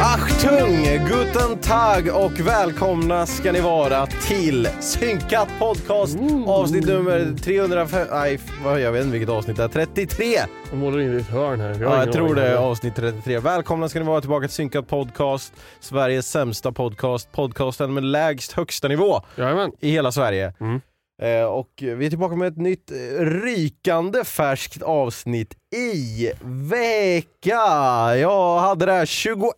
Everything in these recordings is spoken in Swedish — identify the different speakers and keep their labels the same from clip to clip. Speaker 1: Achtung, guten tag och välkomna ska ni vara till Synkat podcast avsnitt nummer 305, nej vad, jag vet inte vilket avsnitt det är, 33!
Speaker 2: De målar in i ett hörn här. har
Speaker 1: Ja, jag
Speaker 2: ingen
Speaker 1: tror
Speaker 2: aning.
Speaker 1: det är avsnitt 33. Välkomna ska ni vara tillbaka till Synkat podcast, Sveriges sämsta podcast, podcasten med lägst högsta nivå
Speaker 2: Jajamän.
Speaker 1: i hela Sverige.
Speaker 2: Mm.
Speaker 1: Eh, och vi är tillbaka med ett nytt eh, rykande färskt avsnitt i vecka. Jag hade det här 21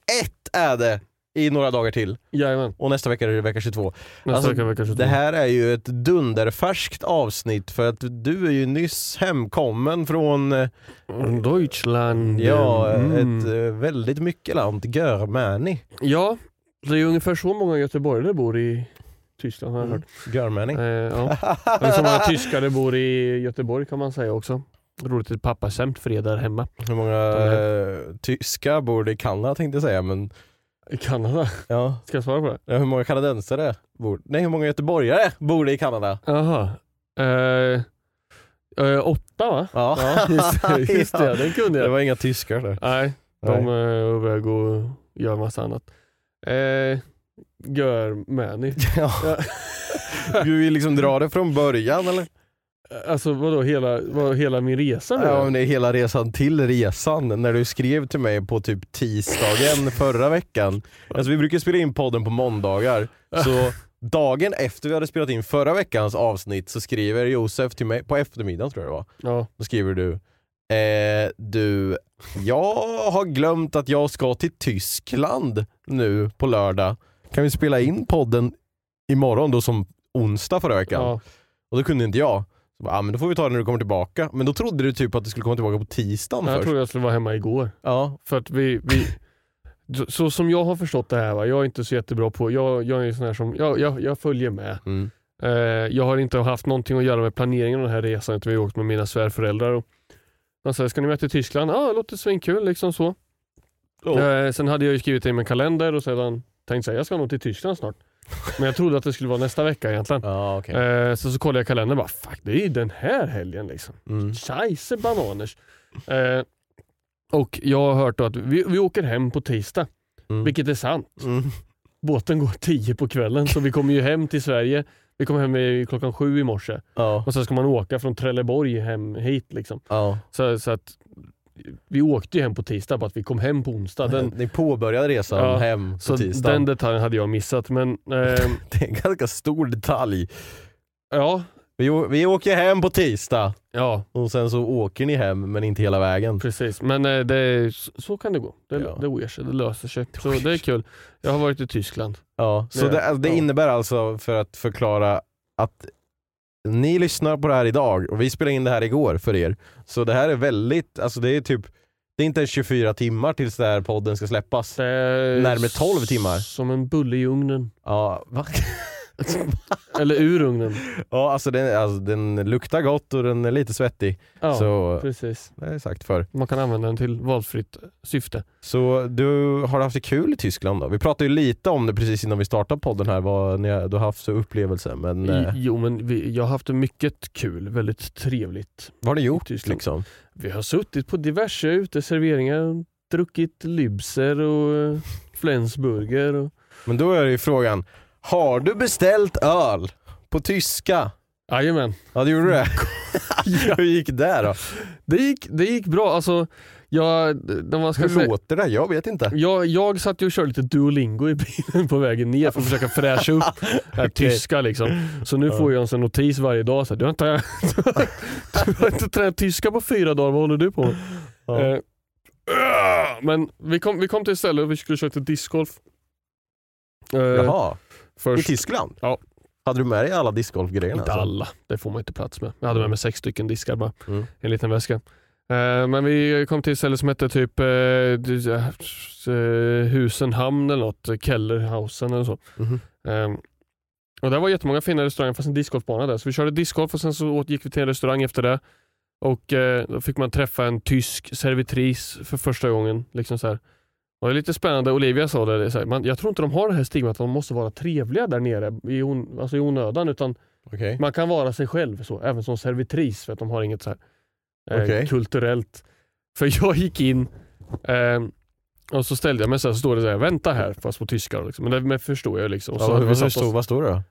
Speaker 1: är det i några dagar till.
Speaker 2: Jajamän.
Speaker 1: Och nästa vecka är det vecka 22.
Speaker 2: Nästa
Speaker 1: Alltså,
Speaker 2: vecka vecka 22.
Speaker 1: Det här är ju ett dunderfärskt avsnitt för att du är ju nyss hemkommen från eh,
Speaker 2: Deutschland.
Speaker 1: ja,
Speaker 2: Mm.
Speaker 1: ett eh, väldigt mycket land, Görmäni.
Speaker 2: Ja, det är ungefär så många göteborgare det bor i Tyskland har jag hört.
Speaker 1: Görmäni.
Speaker 2: Eh, ja. Eller så många tyskare bor i Göteborg kan man säga också. Roligt ett pappaskämt för er där hemma.
Speaker 1: Hur många eh, tyska bor det i Kanada tänkte jag säga men
Speaker 2: I Kanada.
Speaker 1: ja.
Speaker 2: Ska jag svara på det?
Speaker 1: Ja, Hur många kanadensare bor Nej hur många göteborgare bor det i Kanada?
Speaker 2: Jaha. Eh, eh, åtta va?
Speaker 1: Ja,
Speaker 2: just, det, just det. Den kunde
Speaker 1: Det
Speaker 2: jag.
Speaker 1: var inga tyskar där.
Speaker 2: Nej, de eh, är iväg och gör massa annat. Eh, Görmäni.
Speaker 1: Ja.
Speaker 2: Ja.
Speaker 1: Du vill liksom dra det från början eller?
Speaker 2: Alltså vadå hela, vad, hela min resa nu?
Speaker 1: Ja, men det är hela resan till resan. När du skrev till mig på typ tisdagen förra veckan. Alltså vi brukar spela in podden på måndagar. Så dagen efter vi hade spelat in förra veckans avsnitt så skriver Josef till mig, på eftermiddagen tror jag det var.
Speaker 2: ja.
Speaker 1: Då skriver du eh, Du, jag har glömt att jag ska till Tyskland nu på lördag. Kan vi spela in podden imorgon då som onsdag förra veckan?
Speaker 2: ja.
Speaker 1: Och då kunde inte jag. Så bara, ah, men då får vi ta det när du kommer tillbaka. Men då trodde du typ att du skulle komma tillbaka på tisdagen
Speaker 2: Jag
Speaker 1: först.
Speaker 2: trodde jag skulle vara hemma igår.
Speaker 1: Ja.
Speaker 2: För att vi, vi så, så som jag har förstått det här, va? jag är inte så jättebra på, jag, jag är ju sån här som, jag, jag, jag följer med.
Speaker 1: Mm.
Speaker 2: Eh, jag har inte haft någonting att göra med planeringen av den här resan, utan vi har åkt med mina svärföräldrar. Och de säger, ska ni med till Tyskland? Ja, det låter svinkul liksom så.
Speaker 1: Oh.
Speaker 2: Eh, sen hade jag ju skrivit i min kalender och sedan tänkt säga jag ska nog till Tyskland snart. Men jag trodde att det skulle vara nästa vecka egentligen.
Speaker 1: Ja, okej.
Speaker 2: Eh, så, så kollade jag kalendern och bara, fuck det är ju den här helgen liksom.
Speaker 1: Mm.
Speaker 2: Scheisse bananers. Eh, och jag har hört då att vi, vi åker hem på tisdag,
Speaker 1: Mm.
Speaker 2: vilket är sant.
Speaker 1: Mm.
Speaker 2: Båten går 10 på kvällen så vi kommer ju hem till Sverige. Vi kom hem i- klockan sju i morse
Speaker 1: Ja.
Speaker 2: och sen ska man åka från Trelleborg hem hit. Liksom.
Speaker 1: ja.
Speaker 2: Så, så att vi åkte ju hem på tisdag, bara att vi kom hem på onsdag. Den,
Speaker 1: Ni påbörjade resan
Speaker 2: Ja,
Speaker 1: hem på
Speaker 2: så
Speaker 1: tisdagen.
Speaker 2: den detaljen hade jag missat. Men eh,
Speaker 1: Det är en ganska stor detalj.
Speaker 2: ja,
Speaker 1: Vi, å- vi åker hem på tisdag
Speaker 2: ja,
Speaker 1: och sen så åker ni hem men inte hela vägen.
Speaker 2: Precis, men eh, det, så- så kan det gå. Det,
Speaker 1: Ja.
Speaker 2: det ger sig, det löser sig. Så det är kul. Jag har varit i Tyskland.
Speaker 1: Ja, så
Speaker 2: Ja.
Speaker 1: det, alltså, det
Speaker 2: Ja.
Speaker 1: innebär alltså, för att förklara, att ni lyssnar på det här idag och vi spelade in det här igår för er. Så det här är väldigt, alltså det är typ, det är inte ens 24 timmar tills den här podden ska släppas.
Speaker 2: Det är
Speaker 1: Närmare 12 timmar.
Speaker 2: Som en bulle i ugnen.
Speaker 1: Ja, va?
Speaker 2: Eller ur ugnen.
Speaker 1: Ja, alltså den, alltså den luktar gott och den är lite svettig.
Speaker 2: Ja,
Speaker 1: Så,
Speaker 2: precis.
Speaker 1: det har jag sagt för.
Speaker 2: Man kan använda den till valfritt syfte.
Speaker 1: Så du har haft det kul i Tyskland då? Vi pratade ju lite om det precis innan vi startade podden här, vad ni, har- du har haft för upplevelse. Men eh,
Speaker 2: Jo, men vi, jag har haft det mycket kul, väldigt trevligt.
Speaker 1: vad har ni gjort
Speaker 2: Tyskland.
Speaker 1: liksom?
Speaker 2: Vi har suttit på diverse uteserveringar, druckit Lübser och eh, Flensburger. Och...
Speaker 1: Men då är ju frågan, har du beställt öl på tyska?
Speaker 2: Jajamän.
Speaker 1: Ja, det gjorde du det? Hur gick det då?
Speaker 2: Det gick, det gick bra. Alltså, jag, när man ska
Speaker 1: Hur
Speaker 2: säga,
Speaker 1: låter det? Jag vet inte.
Speaker 2: jag, jag satt ju och körde lite Duolingo i bilen på vägen ner för att försöka fräscha upp det här tyska. Liksom. Så nu får jag en sån notis varje dag. Så här, du, har inte, du har inte tränat tyska på fyra dagar, vad håller du på med?
Speaker 1: Ja.
Speaker 2: Eh, men vi kom, vi kom till ett ställe och vi skulle köra lite discgolf. Eh,
Speaker 1: Jaha, i
Speaker 2: först,
Speaker 1: Tyskland? alltså.
Speaker 2: Ja.
Speaker 1: Hade du med dig alla discgolfgrejerna?
Speaker 2: Inte alla, det får man inte plats med. Jag hade med mig sex stycken diskar bara.
Speaker 1: Mm.
Speaker 2: En liten väska. Eh, men vi kom till ett ställe som hette typ eh, du- eh, Husenhamn eller något, eh, Kellerhausen eller så.
Speaker 1: Mhm.
Speaker 2: Eh, och där var jättemånga fina restauranger, fast en discgolfbana där. Så vi körde discgolf och sen så åt, gick vi till en restaurang efter det. Och eh, då fick man träffa en tysk servitris för första gången. Liksom så här. Och det är lite spännande, Olivia sa det, det är så här, man, jag tror inte de har det här stigmat att de måste vara trevliga där nere i, on, alltså i onödan. Utan
Speaker 1: Okej.
Speaker 2: man kan vara sig själv så, även som servitris för att de har inget så här, eh,
Speaker 1: Okej.
Speaker 2: kulturellt. För jag gick in eh, och så ställde jag mig så, här, så står det så här, vänta här, fast på tyska. då Liksom. Men det men förstår jag liksom. Och så,
Speaker 1: Ja, vad,
Speaker 2: vi satt
Speaker 1: vad,
Speaker 2: oss-
Speaker 1: står, vad står det då?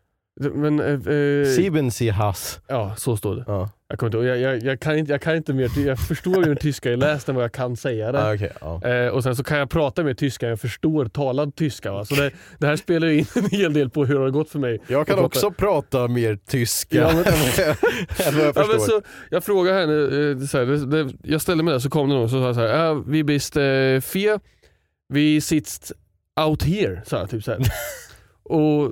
Speaker 2: men, eh, eh,
Speaker 1: Sieben Sie Hass.
Speaker 2: ja, så står det.
Speaker 1: Ja.
Speaker 2: Jag, kommer inte, ihåg. jag, jag, jag, kan inte, jag kan inte mer, ty- jag förstår ju tyska jag läst än vad jag kan säga det.
Speaker 1: Ah, okej, ja.
Speaker 2: Eh, och sen så kan jag prata med tyska, jag förstår talad tyska. Va? Så det, det här spelar ju in en hel del på hur det har gått för mig.
Speaker 1: Jag
Speaker 2: kan
Speaker 1: kan
Speaker 2: också
Speaker 1: också prata mer tyska
Speaker 2: Ja,
Speaker 1: ja,
Speaker 2: men-
Speaker 1: än vad jag
Speaker 2: Ja, men
Speaker 1: förstår.
Speaker 2: så, jag frågade henne, eh, så här, det, det, jag ställde mig där så kom det någon som sa så här, "Ah, vi bist eh, vier, vi sitzt out here. Så här, typ så här. och,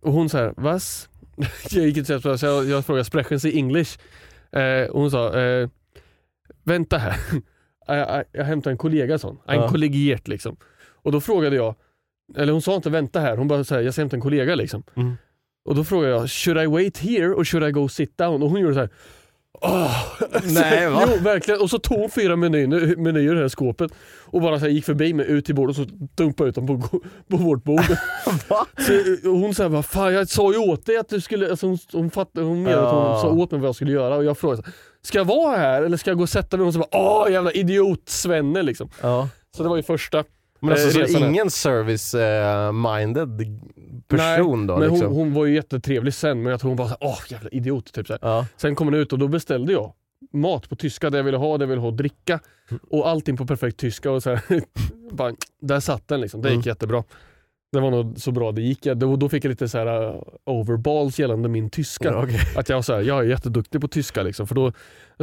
Speaker 2: och hon så här, vas? jag gick inte så här, så jag, jag frågade, sprechen sie English? Eh, och hon sa, eh, vänta här, jag, jag, jag hämtar en kollega sån, en
Speaker 1: Ja.
Speaker 2: kollegiert liksom. Och då frågade jag, eller hon sa inte vänta här, hon bara så här, jag ska hämta en kollega liksom.
Speaker 1: Mm.
Speaker 2: Och då frågade jag, should I wait here or should I go sit down? Och hon gjorde så här, åh.
Speaker 1: Nej, va?
Speaker 2: Jo, verkligen. Och så tog hon fyra menyer, menyer i det här skåpet och bara så här, gick förbi mig ut till bordet och så dumpade ut dem på, på vårt bord.
Speaker 1: Va?
Speaker 2: så, och hon sa bara, fan jag sa ju åt dig att du skulle, alltså, hon, hon, fattade, hon menade att hon
Speaker 1: Ja.
Speaker 2: sa åt mig vad jag skulle göra och jag frågade, så här, ska jag vara här eller ska jag gå och sätta mig? Och hon sa bara, åh jävla idiot-svenne liksom.
Speaker 1: Ja.
Speaker 2: Så det var ju första.
Speaker 1: Men alltså,
Speaker 2: Eh,
Speaker 1: så
Speaker 2: resan här.
Speaker 1: ingen service-minded person
Speaker 2: Nej,
Speaker 1: då?
Speaker 2: men
Speaker 1: liksom.
Speaker 2: hon, hon var ju jättetrevlig sen, men jag tror hon var såhär, åh jävla idiot. Typ så här.
Speaker 1: Ja.
Speaker 2: Sen kom hon ut och då beställde jag mat på tyska, det jag ville ha, det jag ville ha och dricka.
Speaker 1: Mm.
Speaker 2: Och allting på perfekt tyska. Och så här, bara, där satt den liksom, det gick
Speaker 1: Mm.
Speaker 2: jättebra. Det var nog så bra det gick. Jag, då, då fick jag lite så här uh, overballs gällande min tyska.
Speaker 1: Ja, okej.
Speaker 2: Att jag, var så här, jag är jätteduktig på tyska liksom, för då,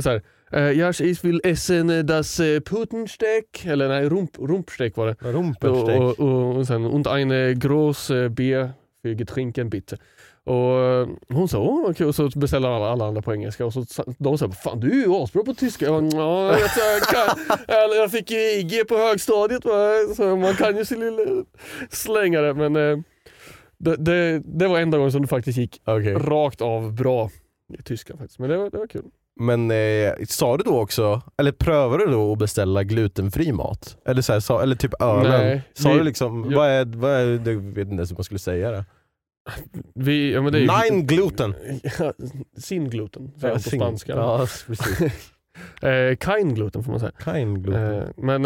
Speaker 2: så här, eh, Jag vill essen eh, das eh, Putensteck, eller nej, rump, rumpsteck var det. Och,
Speaker 1: Rumpelsteak.
Speaker 2: och, och, och sen, und eine große Bier für Getränken bitte. Och eh, hon sa åh vad kul, och så beställer alla, alla andra på engelska och så sa- de sa fan du är ju asbra på tyska. Jag, bara, ja, jag, vet, jag, kan, eller jag fick ju IG på högstadiet va? så man kan ju sin lilla slängare men eh, det, det, det var enda gången som det faktiskt gick
Speaker 1: Okej.
Speaker 2: rakt av bra i tyska faktiskt. Men det var, det var kul.
Speaker 1: Men eh, sa du då också, eller prövade du då att beställa glutenfri mat? Eller, så här, sa, eller typ ölen?
Speaker 2: Nej,
Speaker 1: sa
Speaker 2: vi-
Speaker 1: du liksom,
Speaker 2: jag-
Speaker 1: vad är, vad är, jag vet inte ens hur man skulle säga det.
Speaker 2: Vi, ja, men det är ju-
Speaker 1: Nine gluten!
Speaker 2: Ja, Sin gluten, säger man på
Speaker 1: Sing-
Speaker 2: spanska.
Speaker 1: Ja, precis.
Speaker 2: Eh, kein gluten får man säga.
Speaker 1: Kein gluten.
Speaker 2: Eh, men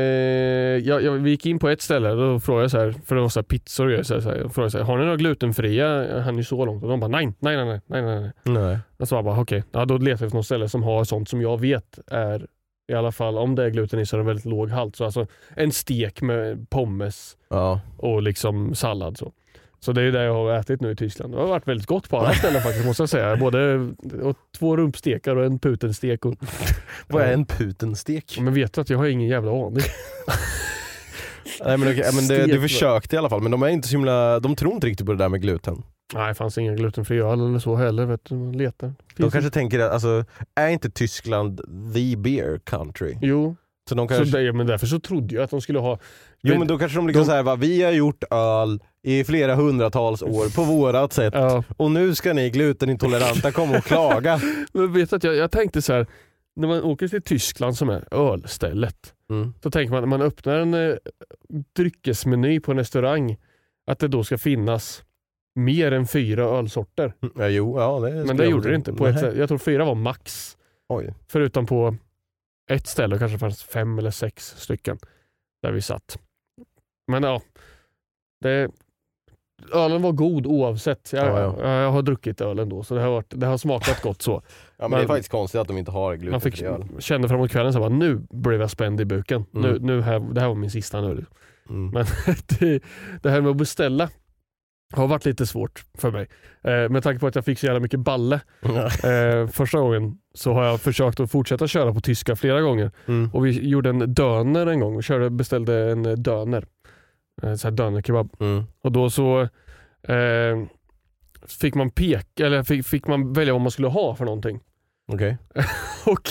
Speaker 2: eh, jag, jag, vi gick in på ett ställe och då frågade jag så här, för det var så här pizzor och grejer, så här, så här, jag frågade så här, har ni några glutenfria? Han är ju så långt och de bara nej, nej, nej, nej, nej, nej. nej.
Speaker 1: Nej.
Speaker 2: Och så jag bara okej, ja, då letar jag efter något ställe som har sånt som jag vet är i alla fall, om det är gluten i så är det en väldigt låg halt. Så alltså en stek med pommes
Speaker 1: Ja.
Speaker 2: och liksom sallad så. Så det är det jag har ätit nu i Tyskland. Det har varit väldigt gott på alla ställen faktiskt måste jag säga. Både och två rumpstekar och en putenstek. Och,
Speaker 1: Vad är en putenstek?
Speaker 2: men vet du att jag har ingen jävla aning.
Speaker 1: Nej, men, okej, men det,
Speaker 2: Stek,
Speaker 1: du
Speaker 2: va?
Speaker 1: försökte i alla fall, men de är inte så himla, de tror inte riktigt på det där med gluten.
Speaker 2: Nej, det fanns ingen glutenfri öl eller så heller. Vet du, man letar.
Speaker 1: De
Speaker 2: Finns
Speaker 1: kanske tänker att, alltså, är inte Tyskland the beer country?
Speaker 2: det? Jo,
Speaker 1: Så de
Speaker 2: Så
Speaker 1: kanske,
Speaker 2: där, ja, men därför så trodde jag att de skulle ha...
Speaker 1: jo men då kanske de liksom
Speaker 2: de-
Speaker 1: såhär, va, vi har gjort öl i flera hundratals år på vårat sätt
Speaker 2: Ja.
Speaker 1: och nu ska ni glutenintoleranta komma och klaga.
Speaker 2: Men vet du att jag, jag tänkte så här. När man åker till Tyskland som är ölstället,
Speaker 1: Mm.
Speaker 2: så tänker man när man öppnar en eh, dryckesmeny på en restaurang, att det då ska finnas mer än fyra ölsorter.
Speaker 1: Ja, jo, ja, det
Speaker 2: Men
Speaker 1: skulle
Speaker 2: det
Speaker 1: jag
Speaker 2: gjorde det inte. På
Speaker 1: Nej.
Speaker 2: ett, ställe. jag tror fyra var max.
Speaker 1: Oj.
Speaker 2: Förutom på ett ställe kanske det fanns fem eller sex stycken där vi satt. Men ja, det, ölen var god oavsett. Jag,
Speaker 1: Ja, ja.
Speaker 2: jag, jag har druckit ölen då, så det har, varit, det har smakat gott så.
Speaker 1: Ja, men,
Speaker 2: Men-
Speaker 1: det är faktiskt konstigt att de inte har
Speaker 2: Man
Speaker 1: glutenfri
Speaker 2: fick,
Speaker 1: öl.
Speaker 2: kände framåt kvällen så här, bara, nu blev jag spänd i buken.
Speaker 1: Mm.
Speaker 2: Nu, nu här, det här var min sista nu.
Speaker 1: Mm.
Speaker 2: Men det, det här med att beställa har varit lite svårt för mig. Eh, med tanke på att jag fick så jävla mycket balle
Speaker 1: Ja.
Speaker 2: eh, första gången så har jag försökt att fortsätta köra på tyska flera gånger.
Speaker 1: Mm.
Speaker 2: Och vi gjorde en döner en gång. Vi körde, beställde en eh, döner. Eh, Så här dönerkebab.
Speaker 1: Mm.
Speaker 2: Och då så eh, fick man pek, eller fick, fick man välja vad man skulle ha för någonting.
Speaker 1: Okej.
Speaker 2: Och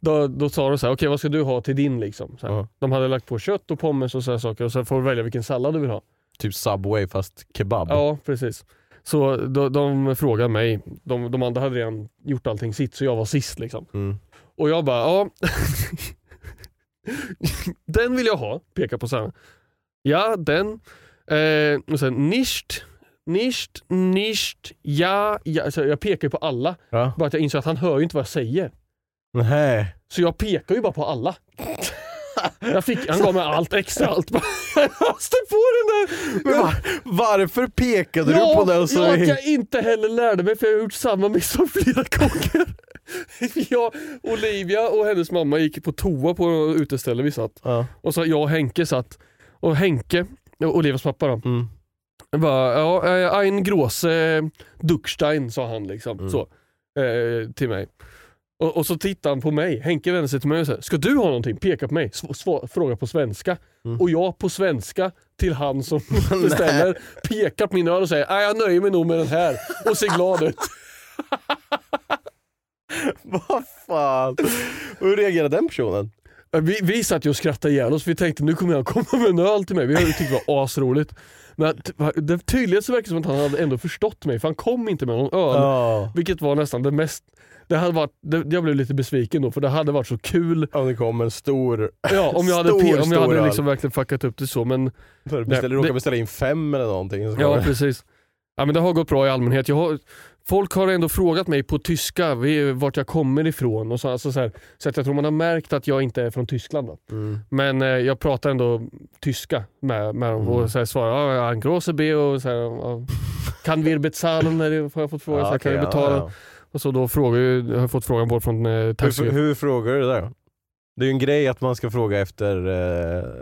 Speaker 2: då, då sa de så här, okej vad ska du ha till din liksom? Så här.
Speaker 1: Ja.
Speaker 2: De hade lagt på kött och pommes och sådana saker och sen får du välja vilken sallad du vill ha.
Speaker 1: Typ Subway fast kebab.
Speaker 2: Ja, precis. Så då, de frågade mig, de, de andra hade redan gjort allting sitt så jag var sist liksom.
Speaker 1: Mm.
Speaker 2: Och jag bara, ja. den vill jag ha, pekar på Sanna. Ja, den. Eh, och sen nicht, nicht, nicht, ja, ja. Så jag pekar ju på alla.
Speaker 1: Ja.
Speaker 2: Bara att jag inser att han hör ju inte vad jag säger.
Speaker 1: Nej.
Speaker 2: Så jag pekar ju bara på alla. Jag fick, han gav mig allt, extra allt. Jag måste på den där.
Speaker 1: Men va- varför pekade du på det och så...
Speaker 2: ja, att jag inte heller lärde mig för jag har gjort samma misstag flera gånger. Jag, Olivia och hennes mamma gick på toa på utestället vi satt.
Speaker 1: Ja.
Speaker 2: Och så jag och Henke satt. Och Henke, och Olivias pappa då,
Speaker 1: Mm.
Speaker 2: bara, ja, eh, ein große Duckstein sa han liksom. Så, eh, till mig. Och, och så tittade han på mig. Henke vände sig till mig och sa, ska du ha någonting? Peka på mig. Sv- sva- fråga på svenska. Och jag på svenska till han som beställer pekar på min öl och säger, nej jag nöjer mig nog med den här. Och ser glad ut.
Speaker 1: Vad fan. Och hur reagerade den personen?
Speaker 2: Eh, Vi, vi satt ju och skrattade ihjäl oss. Vi tänkte nu kommer han komma med en öl till mig. Vi hade tyckt det var asroligt. Men att- det, tydligen så verkar det som att han hade ändå förstått mig för han kom inte med någon öl.
Speaker 1: Ja.
Speaker 2: Vilket var nästan det mest... Det hade varit, det, jag blev lite besviken då för det hade varit så kul
Speaker 1: Om det kom en stor...
Speaker 2: ja, om jag hade,
Speaker 1: Stor,
Speaker 2: pe- om jag
Speaker 1: stor
Speaker 2: hade
Speaker 1: öl.
Speaker 2: liksom verkligen fuckat upp det så. Men,
Speaker 1: Beställer,
Speaker 2: det-
Speaker 1: råkar beställa in fem eller någonting. Så
Speaker 2: ja,
Speaker 1: kommer-
Speaker 2: precis. Ja, men det har gått bra i allmänhet. Jag har, folk har ändå frågat mig på tyska vi- vart jag kommer ifrån. Och så, alltså så, här, så att jag tror man har märkt att jag inte är från Tyskland. Då.
Speaker 1: Mm.
Speaker 2: Men eh, jag pratar ändå tyska med, med dem
Speaker 1: Mm.
Speaker 2: och så här svarar ja, en große B och så här, ja, kan vi bezahlen? När det- Har jag fått fråga. så här, kan
Speaker 1: okej,
Speaker 2: vi betala?
Speaker 1: ja.
Speaker 2: Och så då frågar jag, jag har fått frågan både från eh, taxi.
Speaker 1: Hur, hur frågar du det där då? Det är ju en grej att man ska fråga efter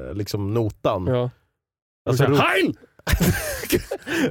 Speaker 1: eh, liksom notan.
Speaker 2: Ja.
Speaker 1: Alltså, ro-
Speaker 2: Heil!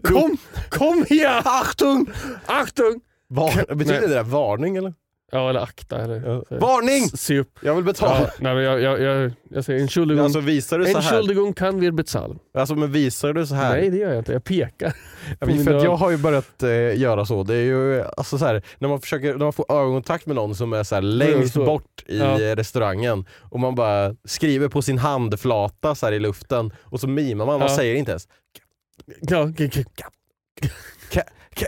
Speaker 2: kom, kom här! Achtung! Achtung!
Speaker 1: var, betyder
Speaker 2: Nej.
Speaker 1: det där varning eller?
Speaker 2: Ja, eller akta. Eller,
Speaker 1: Ja.
Speaker 2: så-
Speaker 1: Varning!
Speaker 2: S- Se upp.
Speaker 1: Jag vill
Speaker 2: Ja,
Speaker 1: betala.
Speaker 2: nej, men jag, jag, jag, jag säger Entschuldigung.
Speaker 1: Alltså visar du så här?
Speaker 2: Entschuldigung kan wir bezahlen.
Speaker 1: Alltså men visar du så här?
Speaker 2: Nej, det gör jag inte. Jag pekar.
Speaker 1: Ja,
Speaker 2: på
Speaker 1: men
Speaker 2: min
Speaker 1: för att
Speaker 2: öl.
Speaker 1: jag har ju börjat eh, göra så. Det är ju eh, alltså så här, när man försöker, när man får ögonkontakt med någon som är så här längst
Speaker 2: så.
Speaker 1: bort i
Speaker 2: Ja.
Speaker 1: eh, restaurangen och man bara skriver på sin handflata så här i luften och så mimar man, man
Speaker 2: Ja.
Speaker 1: säger inte ens.
Speaker 2: Ja, g- g-
Speaker 1: Ka, ka,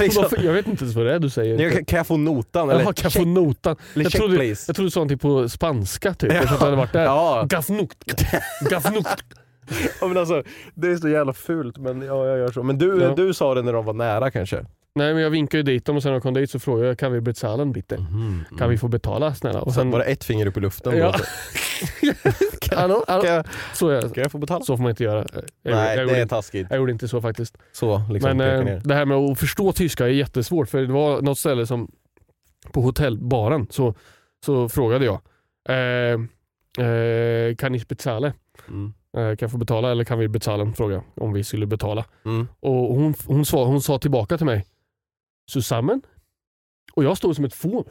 Speaker 1: liksom,
Speaker 2: varför- jag vet inte ens vad det är du säger.
Speaker 1: jag, kan- kan jag få notan? Eller
Speaker 2: Jaha, kan jag få notan?
Speaker 1: eller
Speaker 2: Jag
Speaker 1: check,
Speaker 2: trodde,
Speaker 1: please.
Speaker 2: jag trodde du sa någonting på spanska typ. Jag trodde att det hade varit där.
Speaker 1: Ja.
Speaker 2: Gafnukt. Gafnukt.
Speaker 1: Ja, men alltså, det är så jävla fult men ja, jag gör så. Men du,
Speaker 2: Ja.
Speaker 1: du sa det när de var nära kanske?
Speaker 2: Nej, men jag vinkade ju dit dem och sen när de kom dit så frågade jag kan vi bezahlen bitte? Kan vi få betala snälla? Mm-hmm. Och sen,
Speaker 1: Var det ett finger upp i luften?
Speaker 2: Ja.
Speaker 1: Då?
Speaker 2: Hallå, hallå.
Speaker 1: Kan, jag,
Speaker 2: Så, jag,
Speaker 1: kan jag få betala?
Speaker 2: så får man inte göra. Jag,
Speaker 1: Nej,
Speaker 2: jag,
Speaker 1: det är
Speaker 2: gjorde,
Speaker 1: taskigt.
Speaker 2: jag gjorde inte så faktiskt.
Speaker 1: Så, liksom,
Speaker 2: Men
Speaker 1: peka
Speaker 2: eh,
Speaker 1: ner.
Speaker 2: det här med att förstå tyska är jättesvårt. För det var något ställe som på hotellbaren så, så frågade jag. Eh, eh, kan ni betala?
Speaker 1: Mm.
Speaker 2: Eh, kan jag få betala eller kan vi betala? Fråga om vi skulle betala.
Speaker 1: Mm.
Speaker 2: Och hon, hon, svar, hon sa tillbaka till mig. Susammen? Och jag stod som ett fån.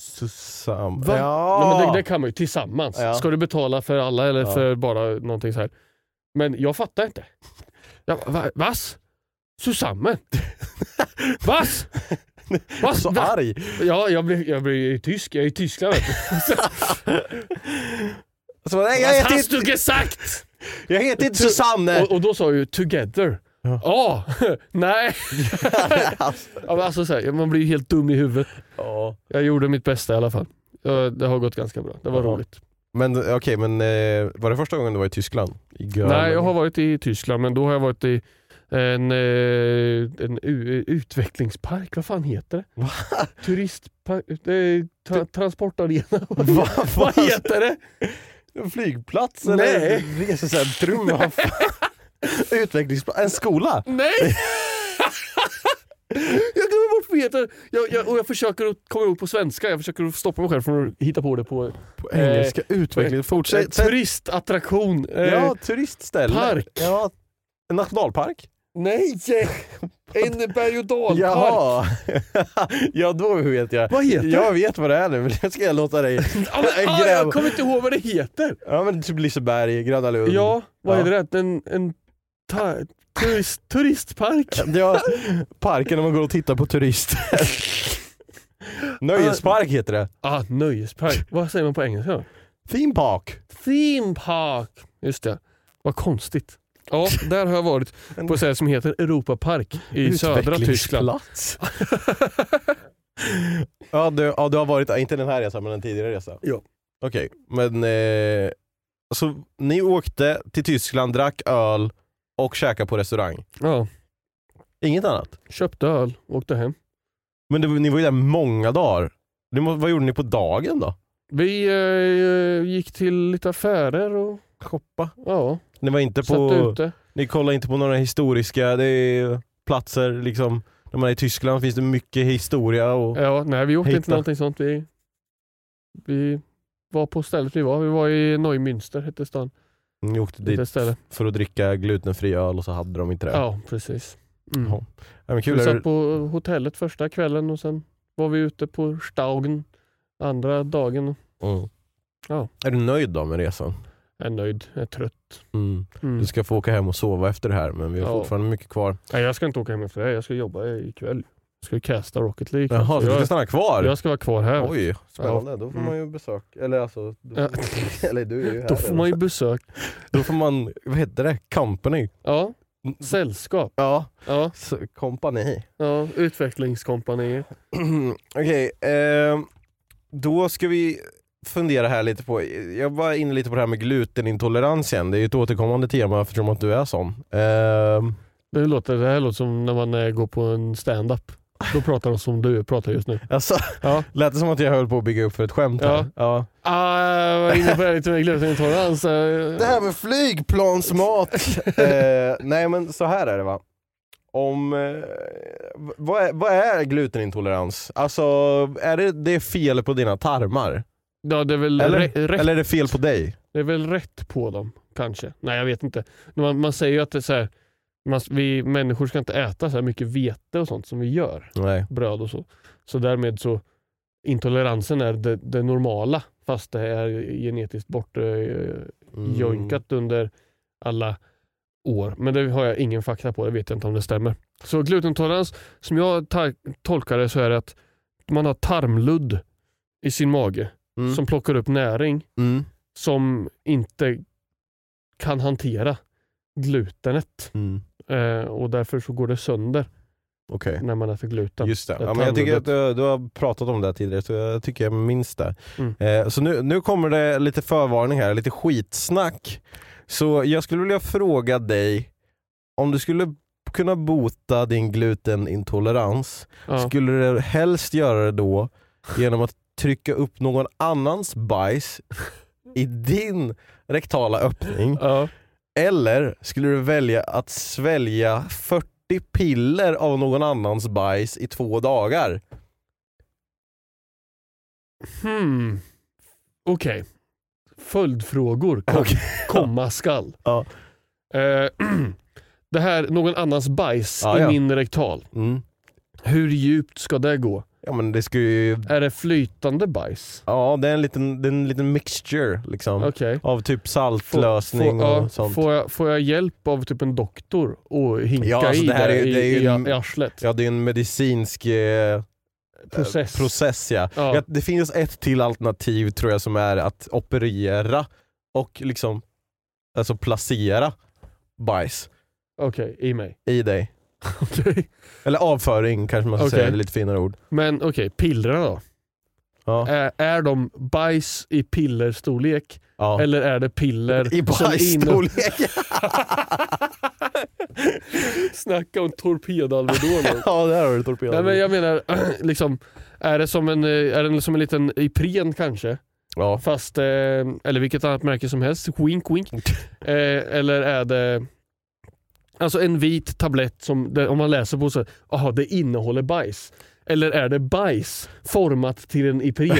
Speaker 1: Susanne.
Speaker 2: Va?
Speaker 1: Ja.
Speaker 2: Nej, men det, det kan man ju tillsammans.
Speaker 1: Ja.
Speaker 2: Ska du betala för alla eller
Speaker 1: Ja.
Speaker 2: för bara någonting så här? Men jag fattar inte. Jag, bara, va, vas? Susammen? vas? Vad?
Speaker 1: Så
Speaker 2: Va?
Speaker 1: arg.
Speaker 2: Ja, jag blir, jag blir ju tysk. Jag är i Tyskland vet du.
Speaker 1: Så bara, Alltså, nej, jag,
Speaker 2: Was
Speaker 1: heter
Speaker 2: hast
Speaker 1: inte,
Speaker 2: du gesagt?
Speaker 1: jag heter inte Susanne!
Speaker 2: Och, och då sa jag ju together. Ja, nej. ja, men alltså, så här, man blir ju helt dum i huvudet.
Speaker 1: Ja.
Speaker 2: Jag gjorde mitt bästa i alla fall. Ja, Det har gått ganska bra. Det var
Speaker 1: Ja.
Speaker 2: roligt.
Speaker 1: Men okej, men eh, var det första gången du var i Tyskland? I Gölen.
Speaker 2: Nej, jag har varit i Tyskland, men då har jag varit i en, eh, en u- utvecklingspark. Vad fan heter det?
Speaker 1: Va?
Speaker 2: Turistpark? Eh, tra- transportarena?
Speaker 1: Va?
Speaker 2: Vad heter det?
Speaker 1: En flygplats
Speaker 2: Nej.
Speaker 1: eller resecentrum? Vad fan? Utvecklingsplats? En skola?
Speaker 2: Nej! jag glömmer bort vad det heter. Jag, jag, och jag försöker att komma ihåg på svenska. Jag försöker att stoppa mig själv från att hitta på eh, det på
Speaker 1: På engelska? Utveckling?
Speaker 2: eh,
Speaker 1: Fortsätt.
Speaker 2: turistattraktion. Eh,
Speaker 1: ja, turistställe.
Speaker 2: park.
Speaker 1: Ja, en nationalpark?
Speaker 2: Nej! En berg och dalpark.
Speaker 1: Jaha. ja, då vet jag.
Speaker 2: Vad heter
Speaker 1: Jag vet vad det är nu, men det ska jag låta dig.
Speaker 2: Ja, men, ah, jag kommer inte ihåg vad det heter.
Speaker 1: Ja, men typ Liseberg, Gröna Lund.
Speaker 2: Ja, vad
Speaker 1: Ja.
Speaker 2: är det rätt? En, en ta, turist, turistpark?
Speaker 1: Ja, parken när man går och tittar på turister. Nöjespark heter det.
Speaker 2: Ah, nöjespark. Vad säger man på engelska?
Speaker 1: Theme park.
Speaker 2: Theme park. Just det. Vad konstigt. Ja, där har jag varit på ett ställe som heter Europapark i södra Tyskland.
Speaker 1: Utvecklingsplats. ja, du, ja, du har varit, inte den här resan men en tidigare resa.
Speaker 2: Ja.
Speaker 1: Okej, men eh, så ni åkte till Tyskland, drack öl och käkade på restaurang.
Speaker 2: Ja,
Speaker 1: Inget annat?
Speaker 2: köpte öl, åkte hem.
Speaker 1: Men det, ni var ju där många dagar. Ni, må- vad gjorde ni på dagen då?
Speaker 2: Vi eh, gick till lite affärer och
Speaker 1: Shoppa.
Speaker 2: ja,
Speaker 1: Ni var inte
Speaker 2: satt
Speaker 1: på,
Speaker 2: ute.
Speaker 1: ni kollade inte på några historiska det är platser liksom. När man är i Tyskland finns det mycket historia och...
Speaker 2: Ja, nej vi åkte
Speaker 1: Hitta.
Speaker 2: inte någonting sånt. Vi, vi var på stället vi var. Vi var i Neumünster hette stan.
Speaker 1: Ni åkte
Speaker 2: Det
Speaker 1: dit
Speaker 2: stället.
Speaker 1: för att dricka glutenfri öl och så hade de inte det.
Speaker 2: Ja, precis. Mm.
Speaker 1: Ja. Ja, men kul.
Speaker 2: Vi
Speaker 1: Är
Speaker 2: satt på hotellet första kvällen och sen var vi ute på Staugen andra dagen.
Speaker 1: du, mm.
Speaker 2: Ja.
Speaker 1: är du nöjd då med resan?
Speaker 2: Jag är nöjd, jag är trött. Mm.
Speaker 1: Du ska få åka hem och sova efter det här men vi har
Speaker 2: Ja.
Speaker 1: fortfarande mycket kvar.
Speaker 2: Nej, jag ska inte åka hem efter det här. Jag ska jobba ikväll. Jag ska casta Rocket League.
Speaker 1: Jaha, så du ska
Speaker 2: jag,
Speaker 1: stanna kvar?
Speaker 2: jag ska vara kvar här.
Speaker 1: Oj, spännande. Då får
Speaker 2: Mm.
Speaker 1: man ju besök. Eller alltså, då
Speaker 2: Ja.
Speaker 1: får, eller du är ju här.
Speaker 2: Då får man ju besök.
Speaker 1: då får man, vad heter det? Company?
Speaker 2: Ja, sällskap.
Speaker 1: Ja,
Speaker 2: Ja,
Speaker 1: så- kompani.
Speaker 2: ja. utvecklingskompanier.
Speaker 1: Okej, ehm, då ska vi fundera här lite på, jag var inne lite på det här med glutenintolerans igen. Det är ju ett återkommande tema eftersom att du är sån. Ehm,
Speaker 2: Det, låter, det här låter som när man eh, går på en stand-up. Då pratar de som du pratar just nu.
Speaker 1: alltså,
Speaker 2: Ja.
Speaker 1: lät det som att jag höll på att bygga upp för ett skämt här?
Speaker 2: Ja.
Speaker 1: Ja.
Speaker 2: Ah, vad innebär lite mer glutenintolerans? eh.
Speaker 1: Det här med flygplansmat. eh, nej men så här är det va. Om, eh, vad, är, vad är glutenintolerans? Alltså är det, det är fel på dina tarmar?
Speaker 2: Ja, det är väl
Speaker 1: Eller,
Speaker 2: rä- rätt
Speaker 1: eller är det fel på dig?
Speaker 2: Det är väl rätt på dem, kanske. Nej, jag vet inte. Man, man säger ju att det är så här, man, vi människor ska inte äta så här mycket vete och sånt som vi gör.
Speaker 1: Nej.
Speaker 2: Bröd och så. Så därmed så intoleransen är det, det normala fast det är genetiskt bortjojkat
Speaker 1: Mm.
Speaker 2: under alla år. Men det har jag ingen fakta på. Det vet jag inte om det stämmer. Så glutenintolerans, som jag tar- tolkar det så är det att man har tarmludd i sin mage
Speaker 1: Mm.
Speaker 2: som plockar upp näring
Speaker 1: Mm.
Speaker 2: som inte kan hantera glutenet.
Speaker 1: Mm.
Speaker 2: Eh, och därför så går det sönder
Speaker 1: Okej.
Speaker 2: när man äter gluten.
Speaker 1: Just det.
Speaker 2: det
Speaker 1: Ja, men jag tycker att
Speaker 2: tarmluddet.
Speaker 1: du, du har pratat om det här tidigare så jag tycker jag minns det.
Speaker 2: Mm.
Speaker 1: Eh, så nu, nu kommer det lite förvarning här, lite skitsnack. Så jag skulle vilja fråga dig om du skulle kunna bota din glutenintolerans,
Speaker 2: Ja.
Speaker 1: skulle du helst göra det då genom att trycka upp någon annans bajs i din rektala öppning?
Speaker 2: Ja.
Speaker 1: Eller skulle du välja att svälja 40 piller av någon annans bajs i två dagar?
Speaker 2: Hmm. Okej. Följdfrågor kom, komma skall.
Speaker 1: Ja.
Speaker 2: Eh, det här, någon annans bajs
Speaker 1: Ja,
Speaker 2: i
Speaker 1: ja.
Speaker 2: min rektal.
Speaker 1: Mm.
Speaker 2: Hur djupt ska det gå?
Speaker 1: Ja men det skulle ju...
Speaker 2: Är det flytande bajs?
Speaker 1: Ja det är en liten, det är en liten mixture liksom.
Speaker 2: Okej.
Speaker 1: Av typ
Speaker 2: Får-
Speaker 1: saltlösning
Speaker 2: får- ja,
Speaker 1: och sånt.
Speaker 2: Får jag, får jag hjälp av typ en doktor och hinka
Speaker 1: Ja, alltså
Speaker 2: i
Speaker 1: det här
Speaker 2: där
Speaker 1: är ju-
Speaker 2: i,
Speaker 1: det är ju
Speaker 2: i,
Speaker 1: en-
Speaker 2: i arslet?
Speaker 1: Ja det är en medicinsk eh,
Speaker 2: Process.
Speaker 1: process ja.
Speaker 2: Ja.
Speaker 1: Ja, Det finns ett till alternativ tror jag som är att operera och liksom alltså placera bajs
Speaker 2: Okej, i mig.
Speaker 1: i dig.
Speaker 2: Okej.
Speaker 1: Eller avföring kanske man ska
Speaker 2: Okej.
Speaker 1: säga, det är lite finare ord.
Speaker 2: Men okej, pillren då?
Speaker 1: Ja.
Speaker 2: Är, är de bajs i pillerstorlek?
Speaker 1: Ja.
Speaker 2: Eller är det piller
Speaker 1: I
Speaker 2: som är inne-
Speaker 1: bajsstorlek!
Speaker 2: Snacka om torpedalvedon.
Speaker 1: ja, där har du torpedon.
Speaker 2: Nej men jag menar, liksom, är det som en, eh, är det som en liten Ipren kanske?
Speaker 1: ja.
Speaker 2: Fast, eh, eller vilket annat märke som helst, wink wink. Eh, eller är det alltså en vit tablett som där, om man läser på så här, aha det innehåller bajs. Eller är det bajs format till en Ipren?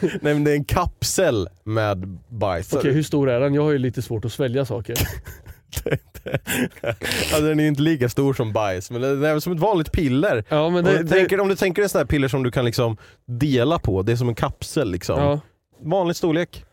Speaker 1: Nej men det är en kapsel med bajs.
Speaker 2: Okej hur stor är den? Jag har ju lite svårt att svälja saker.
Speaker 1: alltså, den är ju inte lika stor som bajs, men den är väl som ett vanligt piller.
Speaker 2: Ja men
Speaker 1: Om du,
Speaker 2: det... det
Speaker 1: tänker, om du tänker en sån här piller som du kan liksom dela på, det är som en kapsel liksom.
Speaker 2: ja.
Speaker 1: Vanlig storlek.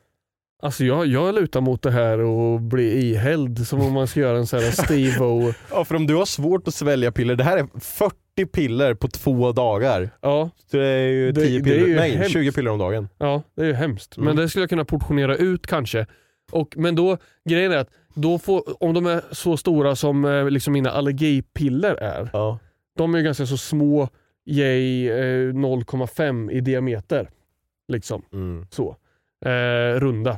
Speaker 2: Alltså jag, jag lutar mot det här och bli ihälld som om man ska göra en sån här Steve-O.
Speaker 1: Ja, för om du har svårt att svälja piller, det här är 40 piller på två dagar.
Speaker 2: Ja,
Speaker 1: Så det är ju
Speaker 2: Det-
Speaker 1: 10
Speaker 2: det är
Speaker 1: piller,
Speaker 2: ju
Speaker 1: nej
Speaker 2: hemskt.
Speaker 1: 20 piller om dagen.
Speaker 2: Ja, det är ju hemskt.
Speaker 1: Mm.
Speaker 2: Men det skulle jag kunna portionera ut kanske. Och, men då, grejen är att då får, om de är så stora som eh, liksom mina allergipiller är.
Speaker 1: Ja.
Speaker 2: De är ju ganska så små, yay eh, 0,5 i diameter. Liksom
Speaker 1: Mm.
Speaker 2: så. Eh, runda.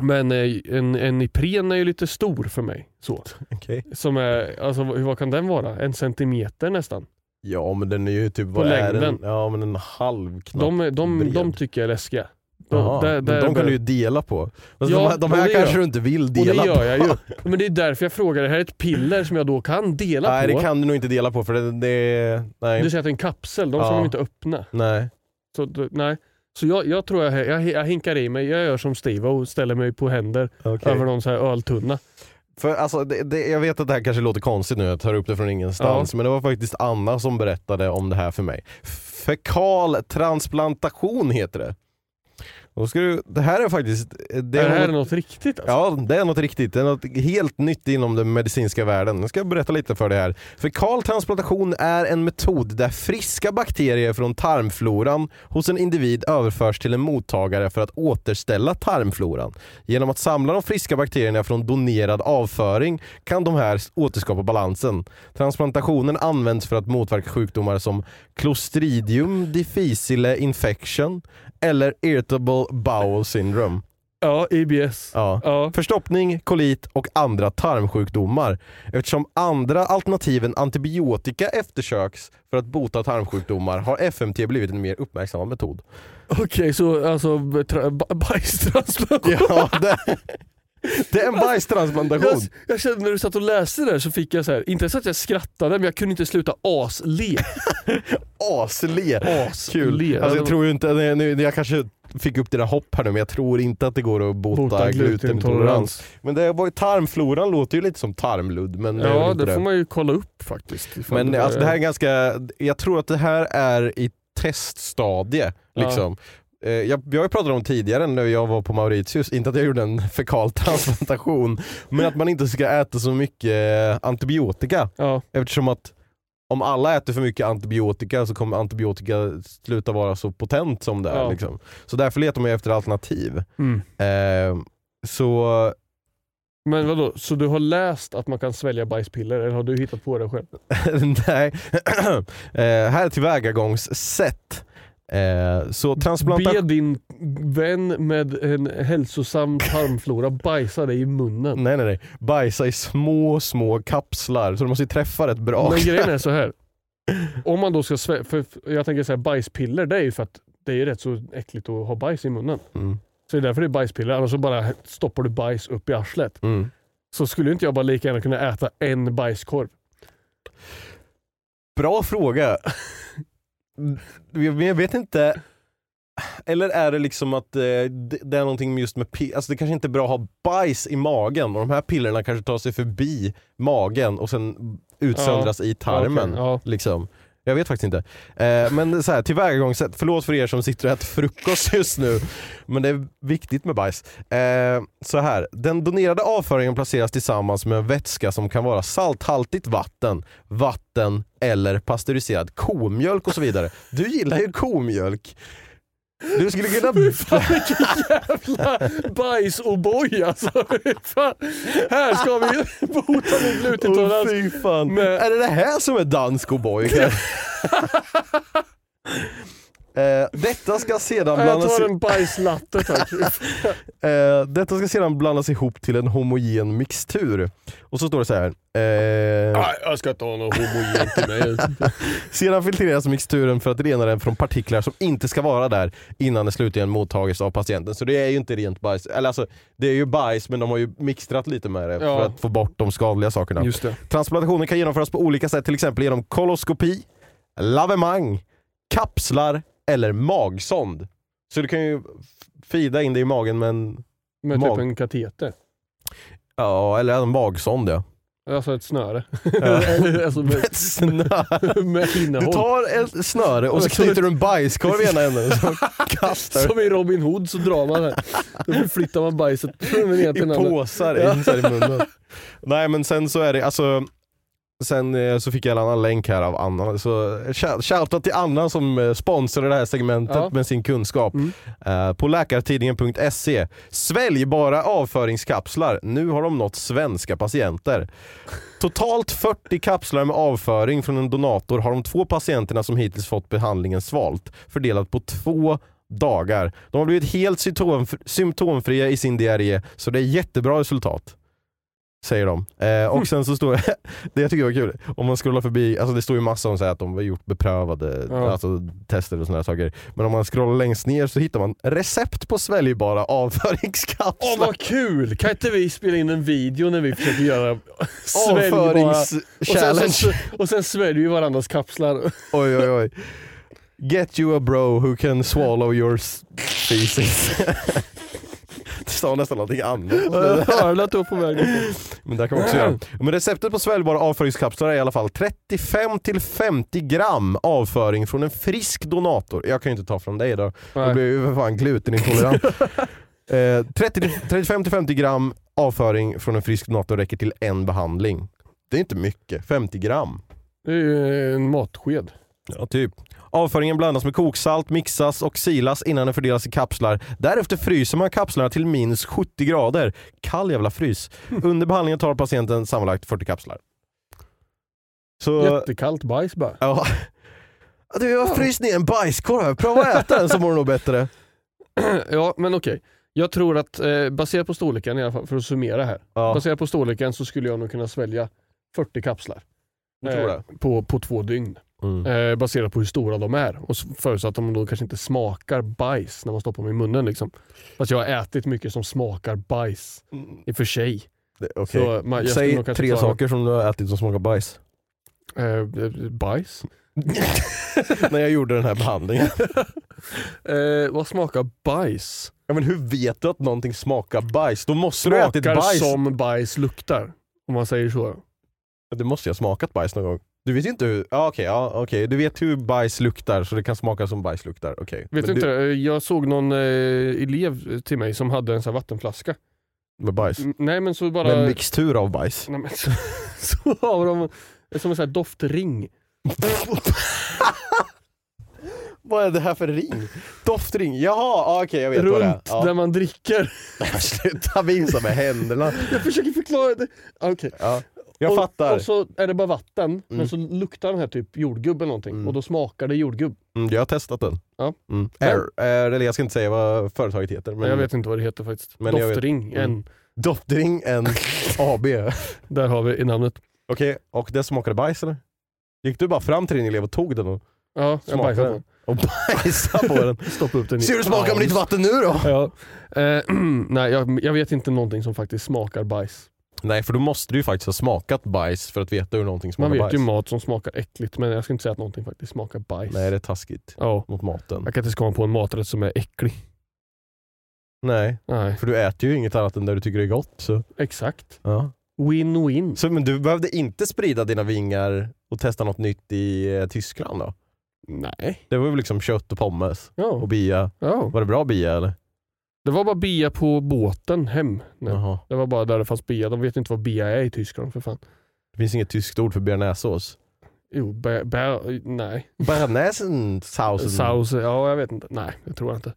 Speaker 2: Men eh, en, en Ipren är ju lite stor för mig. Så.
Speaker 1: Okej.
Speaker 2: Som är, alltså, vad vad kan den vara? En centimeter nästan.
Speaker 1: Ja men den är ju typ,
Speaker 2: På
Speaker 1: vad är den?
Speaker 2: längden.
Speaker 1: Ja men en halv knappt
Speaker 2: De, är- de,
Speaker 1: bred.
Speaker 2: de tycker jag är läskiga.
Speaker 1: Jaha, men de kan du ju dela på. Fast
Speaker 2: Ja,
Speaker 1: de, de
Speaker 2: men
Speaker 1: här
Speaker 2: det
Speaker 1: kanske
Speaker 2: gör-
Speaker 1: du inte vill
Speaker 2: Och det
Speaker 1: dela på.
Speaker 2: gör jag ju. Men det är därför jag frågar. Det här är ett piller som jag då kan dela
Speaker 1: Nej
Speaker 2: på.
Speaker 1: det kan du nog inte dela på för det, det nej.
Speaker 2: Du säger att det är en kapsel, de ska
Speaker 1: Ja.
Speaker 2: man ju inte öppna.
Speaker 1: nej.
Speaker 2: Så, d- nej. Så jag, jag tror jag, jag, jag hinkar i mig. Jag gör som Steve och ställer mig på händer
Speaker 1: Okej.
Speaker 2: över någon så här öltunna.
Speaker 1: För alltså, det, det, jag vet att det här kanske låter konstigt nu, jag tar upp det från ingenstans, men det var faktiskt Anna som berättade om det här för mig. Fekal transplantation heter det. Då ska du, det här är faktiskt...
Speaker 2: Det
Speaker 1: Det
Speaker 2: är det
Speaker 1: har-
Speaker 2: här något riktigt alltså?
Speaker 1: Ja, det är något riktigt. Det är något helt nytt inom den medicinska världen. Jag ska berätta lite för dig här. Fekal transplantation är en metod där friska bakterier från tarmfloran hos en individ överförs till en mottagare för att återställa tarmfloran. Genom att samla de friska bakterierna från donerad avföring kan de här återskapa balansen. Transplantationen används för att motverka sjukdomar som Clostridium difficile infection eller irritable bowel syndrome.
Speaker 2: Ja, IBS.
Speaker 1: Ja.
Speaker 2: Ja.
Speaker 1: Förstoppning, kolit och andra tarmsjukdomar eftersom andra alternativ än antibiotika eftersöks för att bota tarmsjukdomar har FMT blivit en mer uppmärksammad metod.
Speaker 2: Okej, så alltså tra- ba- bajstransplantation.
Speaker 1: Ja, det, det är en
Speaker 2: Jag,
Speaker 1: bajstransplantation.
Speaker 2: jag kände när du satt och läste det där så fick jag så här, inte ens att jag skrattade men jag kunde inte sluta asle.
Speaker 1: Asle. Kul.
Speaker 2: Asle.
Speaker 1: Alltså, jag tror ju inte, nej, nu, jag kanske fick upp dina hopp här nu men jag tror inte att det går att bota,
Speaker 2: Bota
Speaker 1: glutenintolerans.
Speaker 2: glutenintolerans.
Speaker 1: Men det var ju, tarmfloran låter ju lite som tarmludd men det är väl
Speaker 2: Ja,
Speaker 1: inte
Speaker 2: det får man ju kolla upp faktiskt. ifall
Speaker 1: Men alltså, det här är ganska, jag tror att det här är i teststadie.
Speaker 2: Ja.
Speaker 1: Liksom. Eh, Jag, jag har ju pratat om tidigare när jag var på Mauritius, inte att jag gjorde en fekal transplantation, men att man inte ska äta så mycket eh, antibiotika
Speaker 2: Ja,
Speaker 1: eftersom att om alla äter för mycket antibiotika så kommer antibiotika sluta vara så potent som det är.
Speaker 2: Ja.
Speaker 1: Liksom. Så därför letar man ju efter alternativ.
Speaker 2: mm.
Speaker 1: Eh, så
Speaker 2: Men vadå, så du har läst att man kan svälja bajspiller eller har du hittat på det själv?
Speaker 1: Nej. eh, här är tillvägagångssätt. Eh, så transplanta...
Speaker 2: Be din vän med en hälsosam tarmflora bajsa dig i munnen.
Speaker 1: Nej nej nej. Bajsa i små, små kapslar. Så du måste ju träffa rätt bra.
Speaker 2: Men grejen är så här. Om man då ska svälja, för för jag tänker så här, bajspiller det är ju för att det är ju rätt så äckligt att ha bajs i munnen.
Speaker 1: Mm.
Speaker 2: Så det är därför det är bajspiller, annars så bara stoppar du bajs upp i arslet.
Speaker 1: Mm.
Speaker 2: Så skulle inte jag bara lika gärna kunna äta en bajskorv?
Speaker 1: Bra fråga. Men jag vet inte. Eller är det liksom att eh, det det är någonting just med pi- alltså det kanske inte är bra att ha bajs i magen och de här pillerna kanske tar sig förbi magen och sen utsöndras i tarmen.
Speaker 2: Ja, okej.
Speaker 1: Liksom. Jag vet faktiskt inte. Eh, men så här, tillvägagångssätt. Förlåt för er som sitter och äter frukost just nu. Men det är viktigt med bajs. Eh, så här. Den donerade avföringen placeras tillsammans med en vätska som kan vara salthaltigt vatten, vatten eller pasteuriserad komjölk och så vidare. Du gillar ju komjölk. Du skulle kunna...
Speaker 2: Fan vilken jävla bajs-O'boy alltså. Fan. Här ska vi bota min
Speaker 1: Åh,
Speaker 2: glutenintolerans.
Speaker 1: fy fan.
Speaker 2: med-
Speaker 1: Är det det här som är dansk O'boy? Eh, detta ska sedan
Speaker 2: Jag
Speaker 1: blandas
Speaker 2: tar
Speaker 1: i-
Speaker 2: en bajslatte tack.
Speaker 1: Eh, detta ska sedan blandas ihop till en homogen mixtur. Och så står det så här. Eh,
Speaker 2: Nej, jag ska inte ha någon homogent till mig.
Speaker 1: sedan filtreras mixturen för att rena den från partiklar som inte ska vara där innan det slutligen mottagits av patienten. Så det är ju inte rent bajs. Eller alltså, det är ju bajs men de har ju mixtrat lite med det för
Speaker 2: Ja.
Speaker 1: att få bort de skadliga sakerna.
Speaker 2: Just det.
Speaker 1: Transplantationen kan genomföras på olika sätt, till exempel genom koloskopi, lavemang, kapslar eller magsond. Så du kan ju f- fida in det i magen med en,
Speaker 2: Med
Speaker 1: Mag.
Speaker 2: typ en kateter.
Speaker 1: ja, eller en magsond ja.
Speaker 2: Alltså ett snöre.
Speaker 1: Ja.
Speaker 2: alltså med,
Speaker 1: Ett snöre.
Speaker 2: med innehåll.
Speaker 1: Du tar ett snöre och så knyter du en bajskorv i ena änden och så kastar
Speaker 2: Som i Robin Hood så drar man det. Då flyttar man bajset från den ena
Speaker 1: du
Speaker 2: till
Speaker 1: i
Speaker 2: den andra.
Speaker 1: påsar i, så här i munnen. Nej men sen så är det, alltså Sen eh, så fick jag en annan länk här av Anna, så shout- shoutout till Anna som eh, sponsrar det här segmentet
Speaker 2: Ja.
Speaker 1: med sin kunskap.
Speaker 2: Mm.
Speaker 1: Eh, På läkartidningen.se. Sväljbara avföringskapslar, nu har de nått svenska patienter. Totalt 40 kapslar med avföring från en donator har de två patienterna som hittills fått behandlingen svalt, fördelat på två dagar. De har blivit helt symptomf- symptomfria i sin diarré, så det är jättebra resultat. Säger de. Eh, och sen så står det, det jag tycker var kul, om man scrollar förbi, alltså det står ju massa om så här att de har gjort beprövade
Speaker 2: Ja.
Speaker 1: alltså, tester och sådana saker. Men om man scrollar längst ner så hittar man recept på sväljbara
Speaker 2: Åh
Speaker 1: avföringskapslar.
Speaker 2: vad kul! Kan inte vi spela in en video när vi försöker göra sväljbara... Och sen,
Speaker 1: Avförings-challenge.
Speaker 2: så, och sen sväljer vi varandras kapslar.
Speaker 1: Oj, oj, oj. Get you a bro who can swallow your s- feces. Det sa nästan någonting annat.
Speaker 2: Jag hörde att du var på väg.
Speaker 1: Men det kan man också göra. Men receptet på sväljbara avföringskapslar är i alla fall 35-50 gram avföring från en frisk donator. Jag kan ju inte ta från dig då. Då blir jag ju för fan glutenintolerant. eh, 30 35-50 gram avföring från en frisk donator räcker till en behandling. Det är inte mycket, 50 gram.
Speaker 2: Det är ju eh, en matsked.
Speaker 1: Ja, typ. Avföringen blandas med koksalt, mixas och silas innan den fördelas i kapslar. Därefter fryser man kapslarna till minus 70 grader. Kall jävla frys. Under behandlingen tar patienten sammanlagt 40 kapslar. Så...
Speaker 2: Jättekallt bajs bara.
Speaker 1: Ja. Ja, Du, jag har fryst ner en bajskorv. Prova att äta den så mår du nog bättre.
Speaker 2: Ja, men okej. Jag tror att eh, baserat på storleken i alla fall, för att summera här.
Speaker 1: Ja,
Speaker 2: Baserat på storleken så skulle jag nog kunna svälja 40 kapslar. Eh,
Speaker 1: jag tror det.
Speaker 2: på, på två dygn.
Speaker 1: Mm.
Speaker 2: Eh, baserat på hur stora de är. Och s- förutsatt att de då kanske inte smakar bajs när man stoppar dem i munnen. Liksom. Fast jag har ätit mycket som smakar bajs i och för sig.
Speaker 1: Det-
Speaker 2: Så
Speaker 1: Mm. Eh, Okej.
Speaker 2: man- jag skulle
Speaker 1: Säg
Speaker 2: nog kanske
Speaker 1: tre
Speaker 2: ta-
Speaker 1: saker som du har ätit som smakar bajs.
Speaker 2: Eh, bajs?
Speaker 1: När jag gjorde den här behandlingen.
Speaker 2: Eh, vad smakar bajs?
Speaker 1: Ja, men hur vet du att någonting smakar bajs? Då måste du ha ätit
Speaker 2: Smakar
Speaker 1: bajs.
Speaker 2: som bajs luktar. Om man säger så.
Speaker 1: Du måste ju ha smakat bajs någon gång. Du vet ju inte hur, ja okej, ja, okej. du vet hur bajs luktar så det kan smaka som bajs luktar. Okej.
Speaker 2: Vet du
Speaker 1: Men
Speaker 2: inte det? Eh, Jag såg någon eh, elev till mig som hade en sån här vattenflaska.
Speaker 1: Med bajs.
Speaker 2: Mm, Nej men så bara...
Speaker 1: Med en mixtur av bajs.
Speaker 2: Nej, men så, så har de som en sån här doftring.
Speaker 1: Vad är det här för ring? Doftring? Jaha, ja, okej jag vet vad det är.
Speaker 2: runt
Speaker 1: Ja.
Speaker 2: där man dricker.
Speaker 1: Sluta visa med händerna.
Speaker 2: Jag försöker förklara det. Ah, Okej.
Speaker 1: Ja. Jag
Speaker 2: och,
Speaker 1: fattar. Mm.
Speaker 2: Och så är det bara vatten, men så luktar den här typ jordgubb eller någonting och då smakar det jordgubb.
Speaker 1: Mm, jag har testat den.
Speaker 2: Ja.
Speaker 1: Mm. Air, eh, eller jag ska inte säga vad företaget heter. Men
Speaker 2: Men jag vet inte vad det heter faktiskt.
Speaker 1: Men jag vet-
Speaker 2: doftring,
Speaker 1: Mm.
Speaker 2: en.
Speaker 1: Doftring en AB. Okej,
Speaker 2: Där har vi namnet.
Speaker 1: och det smakade bajs eller? Gick du bara fram till din elev och tog den och,
Speaker 2: Ja, jag
Speaker 1: Smakar
Speaker 2: bajsade
Speaker 1: den?
Speaker 2: på
Speaker 1: och bajsade på den?
Speaker 2: den. Stoppa upp den i
Speaker 1: Ser du smaken med ditt vatten nu då?
Speaker 2: Ja. Eh, nej, jag, jag vet inte någonting som faktiskt smakar bajs.
Speaker 1: Nej, för då måste du ju faktiskt ha smakat bajs för att veta hur någonting smakar
Speaker 2: Man vet
Speaker 1: bajs.
Speaker 2: ju mat som smakar äckligt, men jag ska inte säga att någonting faktiskt smakar bajs.
Speaker 1: Nej, det är taskigt
Speaker 2: Ja.
Speaker 1: mot maten.
Speaker 2: Jag kan inte komma på en maträtt som är äcklig.
Speaker 1: Nej,
Speaker 2: Nej,
Speaker 1: för du äter ju inget annat än det du tycker är gott. Så.
Speaker 2: exakt.
Speaker 1: Ja.
Speaker 2: Win-win.
Speaker 1: Så, men du behövde inte sprida dina vingar och testa något nytt i eh, Tyskland då?
Speaker 2: Nej.
Speaker 1: Det var väl liksom kött och pommes
Speaker 2: Ja.
Speaker 1: och bia.
Speaker 2: ja.
Speaker 1: Var det bra bia eller?
Speaker 2: Det var bara bia på båten hem. Nej.
Speaker 1: Jaha.
Speaker 2: Det var bara där det fanns bia. De vet inte vad bia är i Tyskland för fan.
Speaker 1: Det finns inget tyskt ord för bearnaisesås.
Speaker 2: Jo, bä, bä, nej.
Speaker 1: Bearnaisesausen.
Speaker 2: Eh, Saus, ja jag vet inte. Nej, det tror jag inte.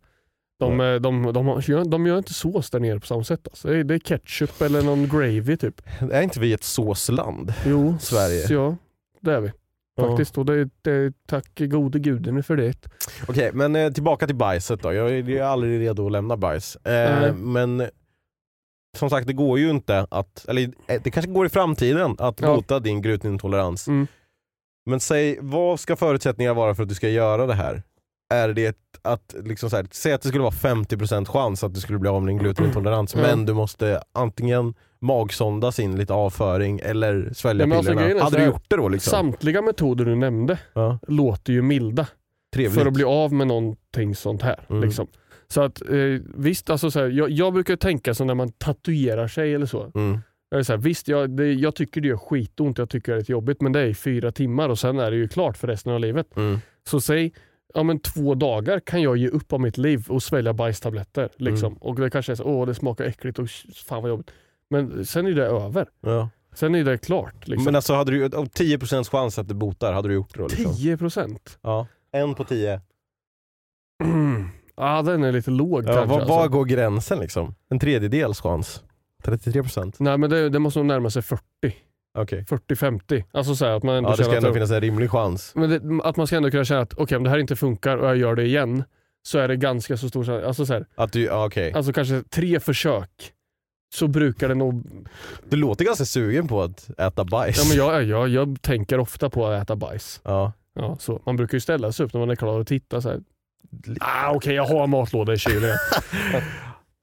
Speaker 2: De, eh, de, de, har- gör, de gör inte sås där nere på samma sätt. Alltså. Det, är, det är ketchup eller någon gravy typ.
Speaker 1: Är inte vi ett såsland?
Speaker 2: Jo,
Speaker 1: Sverige.
Speaker 2: s- Ja, det är vi. Faktiskt. Och det, det, tack gode guden för det.
Speaker 1: Ja. Okej, men eh, tillbaka till bajset då. Jag är, jag är aldrig redo att lämna bajs. Eh,
Speaker 2: Nej.
Speaker 1: men som sagt, det går ju inte att, eller eh, det kanske går i framtiden att
Speaker 2: Ja.
Speaker 1: bota din glutenintolerans.
Speaker 2: Mm.
Speaker 1: Men säg, vad ska förutsättningarna vara för att du ska göra det här? Är det att, liksom så här, säg att det skulle vara 50% chans att du skulle bli av med din glutenintolerans,
Speaker 2: Mm.
Speaker 1: men du måste antingen magsonda sin lite avföring eller svälja
Speaker 2: Ja, men alltså,
Speaker 1: pillerna.
Speaker 2: grejen är
Speaker 1: Hade
Speaker 2: så
Speaker 1: du
Speaker 2: här,
Speaker 1: gjort det då? Liksom?
Speaker 2: Samtliga metoder du nämnde
Speaker 1: ja,
Speaker 2: låter ju milda.
Speaker 1: trevligt.
Speaker 2: för att bli av med någonting sånt här.
Speaker 1: Mm.
Speaker 2: Liksom. Så att eh, visst, alltså, så här, jag, jag brukar tänka så när man tatuerar sig eller så.
Speaker 1: mm.
Speaker 2: Jag, är så här, visst, jag, det, jag tycker det gör skitont, jag tycker det är lite jobbigt, men det är i fyra timmar och sen är det ju klart för resten av livet.
Speaker 1: Mm.
Speaker 2: Så säg, ja men två dagar kan jag ge upp av mitt liv och svälja bajstabletter. Liksom.
Speaker 1: Mm.
Speaker 2: Och det kanske är så, åh det smakar äckligt och sh- fan vad jobbigt. Men sen är det över.
Speaker 1: Ja.
Speaker 2: Sen är det klart. Liksom.
Speaker 1: Men alltså hade du, om 10% chans att det botar, hade du gjort det då? Liksom?
Speaker 2: 10 procent?
Speaker 1: Ja. En på tio.
Speaker 2: ah, den är lite låg
Speaker 1: Ja,
Speaker 2: kanske.
Speaker 1: var,
Speaker 2: alltså.
Speaker 1: var går gränsen liksom? En tredjedels chans? 33%?
Speaker 2: Nej men det, det måste nog närma sig 40.
Speaker 1: Okej.
Speaker 2: 40-50. Alltså så här, att man ändå
Speaker 1: Ja, det
Speaker 2: känner
Speaker 1: ska
Speaker 2: att,
Speaker 1: ändå finnas en rimlig chans.
Speaker 2: men det, att man ska ändå kunna känna att okej om det här inte funkar och jag gör det igen så är det ganska så stor chans. Alltså, så här,
Speaker 1: Att du, ja, okej.
Speaker 2: alltså kanske tre försök så brukar det nog...
Speaker 1: Du låter ganska sugen på att äta bajs.
Speaker 2: Ja, men jag, är- jag, jag tänker ofta på att äta bajs.
Speaker 1: Ja.
Speaker 2: Ja, så. Man brukar ju ställa sig upp när man är klar och titta så här. Ah, okej, jag har en matlåda i kylen.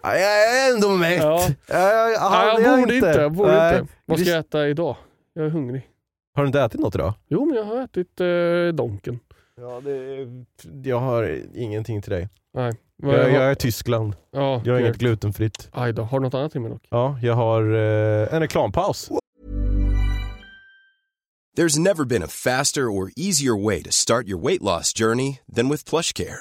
Speaker 1: Ja, Jag är ändå mätt.
Speaker 2: Ja.
Speaker 1: Jag, jag,
Speaker 2: ah, jag borde inte. Jag borde
Speaker 1: Nej.
Speaker 2: inte. Vad ska
Speaker 1: Det-
Speaker 2: jag äta idag? Jag är hungrig.
Speaker 1: Har du inte ätit något idag?
Speaker 2: Jo, men jag har ätit eh, Donken.
Speaker 1: Ja, jag har ingenting till dig.
Speaker 2: Nej. Vad
Speaker 1: Jag,
Speaker 2: har-
Speaker 1: jag är Tyskland.
Speaker 2: ja,
Speaker 1: Jag har
Speaker 2: okej.
Speaker 1: inget glutenfritt.
Speaker 2: Aj då. Har du något annat till mig dock?
Speaker 1: Ja, jag har eh, en reklampaus.
Speaker 3: There's never been a faster or easier way to start your weight loss journey than with PlushCare.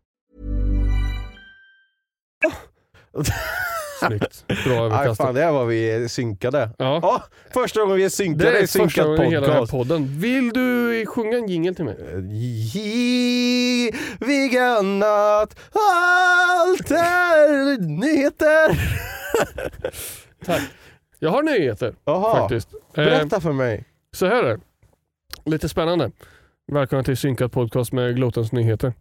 Speaker 2: Snyggt. Bra
Speaker 1: Aj,
Speaker 2: överkastat.
Speaker 1: fan, det här var vi synkade.
Speaker 2: Ja.
Speaker 1: Ja, första gången vi är
Speaker 2: Det
Speaker 1: synkade
Speaker 2: är
Speaker 1: i
Speaker 2: första
Speaker 1: synkat
Speaker 2: gången i hela den här
Speaker 1: podcast. Eh,
Speaker 2: podden. Vill du sjunga en jingel till mig?
Speaker 1: Evigen natt, allt är nyheter.
Speaker 2: Tack. Jag har nyheter
Speaker 1: Jaha,
Speaker 2: faktiskt. Eh,
Speaker 1: berätta för mig.
Speaker 2: så här är det. Lite spännande. Välkomna till Synkat podcast med Glotens nyheter.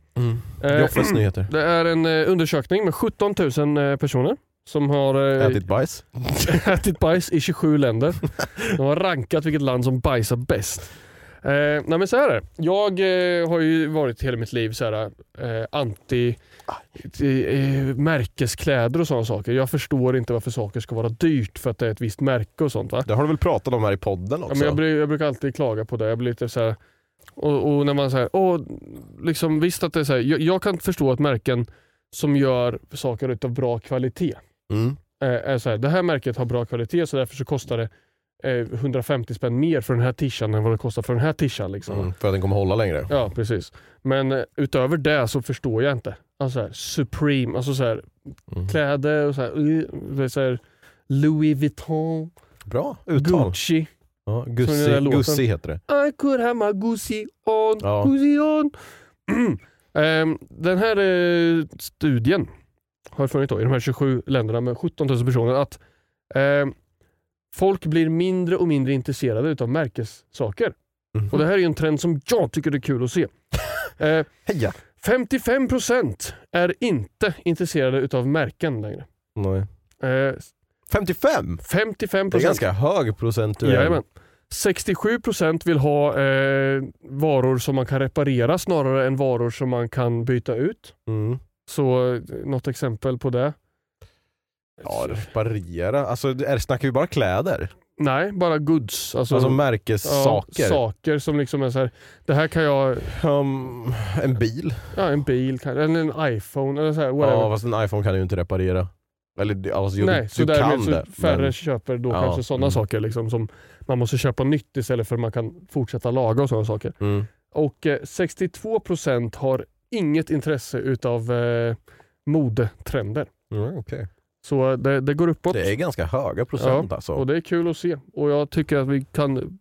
Speaker 2: Eh,
Speaker 1: Joffes Mm. nyheter.
Speaker 2: det är en eh, undersökning med 17 000 eh, personer som har eh,
Speaker 1: Ätit bajs.
Speaker 2: ätit bajs i 27 länder. De har rankat vilket land som bajsar bäst. Eh, nej men så här är det. Jag eh, har ju varit hela mitt liv så här, eh, anti eh, märkeskläder och sådana saker. Jag förstår inte varför saker ska vara dyrt för att det är ett visst märke och sånt. Va?
Speaker 1: Det har du väl pratat om här i podden
Speaker 2: Ja,
Speaker 1: också?
Speaker 2: men jag, bru- jag brukar alltid klaga på det. Jag blir lite så här, och, och när man säger, åh, liksom, visst att det är så här, jag, jag kan förstå att märken som gör saker av bra kvalitet
Speaker 1: Mm.
Speaker 2: eh, är så här, det här märket har bra kvalitet så därför så kostar det eh, 150 spänn mer för den här tishan än vad det kostar för den här tishan. Liksom.
Speaker 1: Mm, för att den kommer hålla längre.
Speaker 2: Ja, precis. Men eh, utöver det så förstår jag inte. Alltså så här, Supreme, alltså så här,
Speaker 1: Mm.
Speaker 2: kläder och så här, eh, det är så här, Louis Vuitton,
Speaker 1: Bra uttal.
Speaker 2: Gucci.
Speaker 1: Ja,
Speaker 2: Som den
Speaker 1: Gussi,
Speaker 2: där låten.
Speaker 1: Gussi heter det.
Speaker 2: I could have my goosey on,
Speaker 1: Ja.
Speaker 2: goosey on. Ehm, Den här eh, studien har funnit då, i de här 27 länderna med 17 000 personer att ehm, folk blir mindre och mindre intresserade utav märkessaker.
Speaker 1: Mhm.
Speaker 2: Och det här är ju en trend som jag tycker är kul att se. Ehm,
Speaker 1: Heja!
Speaker 2: 55% är inte intresserade utav märken längre.
Speaker 1: Nej.
Speaker 2: Ehm,
Speaker 1: 55!
Speaker 2: 55%
Speaker 1: Det är ganska hög procentuell.
Speaker 2: Jajamän. 67% vill ha eh, varor som man kan reparera snarare än varor som man kan byta ut.
Speaker 1: Mm.
Speaker 2: Så eh, något exempel på det?
Speaker 1: Ja, reparera. Alltså, det är, snackar vi bara kläder?
Speaker 2: Nej, bara goods. Alltså,
Speaker 1: Alltså
Speaker 2: ja,
Speaker 1: märkessaker?
Speaker 2: saker som liksom är så här, det här kan jag,
Speaker 1: Um, en bil?
Speaker 2: ja, en bil, kan, eller en iPhone eller så här, whatever.
Speaker 1: Ja, fast en iPhone kan du ju inte reparera. Eller det- alltså, jo,
Speaker 2: Nej,
Speaker 1: du,
Speaker 2: så
Speaker 1: du
Speaker 2: därmed
Speaker 1: kan
Speaker 2: så
Speaker 1: det.
Speaker 2: färre
Speaker 1: men-
Speaker 2: köper då
Speaker 1: Ja,
Speaker 2: kanske sådana
Speaker 1: mm.
Speaker 2: saker liksom, som man måste köpa nytt istället för att man kan fortsätta laga och sådana saker.
Speaker 1: Mm.
Speaker 2: Och eh, 62% har inget intresse utav eh, modetrender.
Speaker 1: Mm, okej.
Speaker 2: Så eh, det, det går uppåt
Speaker 1: Det är ganska höga procent alltså.
Speaker 2: och det är kul att se. Och jag tycker att vi kan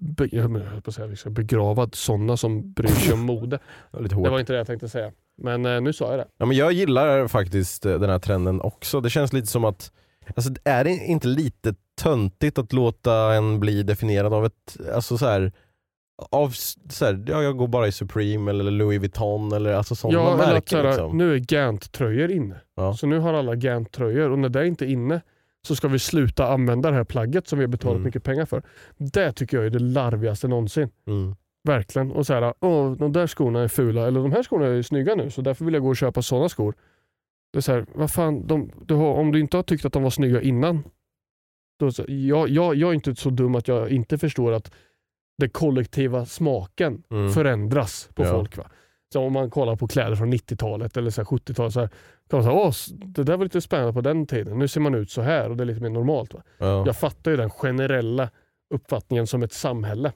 Speaker 2: be, jag höll på att säga, vi ska begrava sådana som bryr sig om mode.
Speaker 1: Det är lite
Speaker 2: Det
Speaker 1: hårt.
Speaker 2: var inte det jag tänkte säga. Men eh, nu sa jag det.
Speaker 1: Ja, men jag gillar faktiskt eh, den här trenden också. Det känns lite som att, alltså, är det inte lite töntigt att låta en bli definierad av ett, alltså så här, av s- så här, ja, jag går bara i Supreme eller Louis Vuitton eller alltså sådana
Speaker 2: Ja, eller att,
Speaker 1: märken.
Speaker 2: såhär,
Speaker 1: liksom.
Speaker 2: Nu är Gant-tröjor inne.
Speaker 1: Ja.
Speaker 2: Så nu har alla Gant-tröjor och när det inte är inne så ska vi sluta använda det här plagget som vi har betalat
Speaker 1: Mm.
Speaker 2: mycket pengar för. Det tycker jag är det larvigaste någonsin.
Speaker 1: Mm.
Speaker 2: Verkligen. Och så här, Åh, de där skorna är fula, eller de här skorna är ju snygga nu, så därför vill jag gå och köpa sådana skor. Det är så här, vad fan, de, du har, om du inte har tyckt att de var snygga innan, då så, jag, jag, jag är inte så dum att jag inte förstår att den kollektiva smaken
Speaker 1: Mm.
Speaker 2: förändras på
Speaker 1: Ja.
Speaker 2: folk. Va? Så om man kollar på kläder från 90-talet eller så här 70-talet, så här, kan man säga, Åh, s- det där var lite spännande på den tiden, nu ser man ut så här och det är lite mer normalt. Va?
Speaker 1: Ja.
Speaker 2: Jag fattar ju den generella uppfattningen som ett samhälle.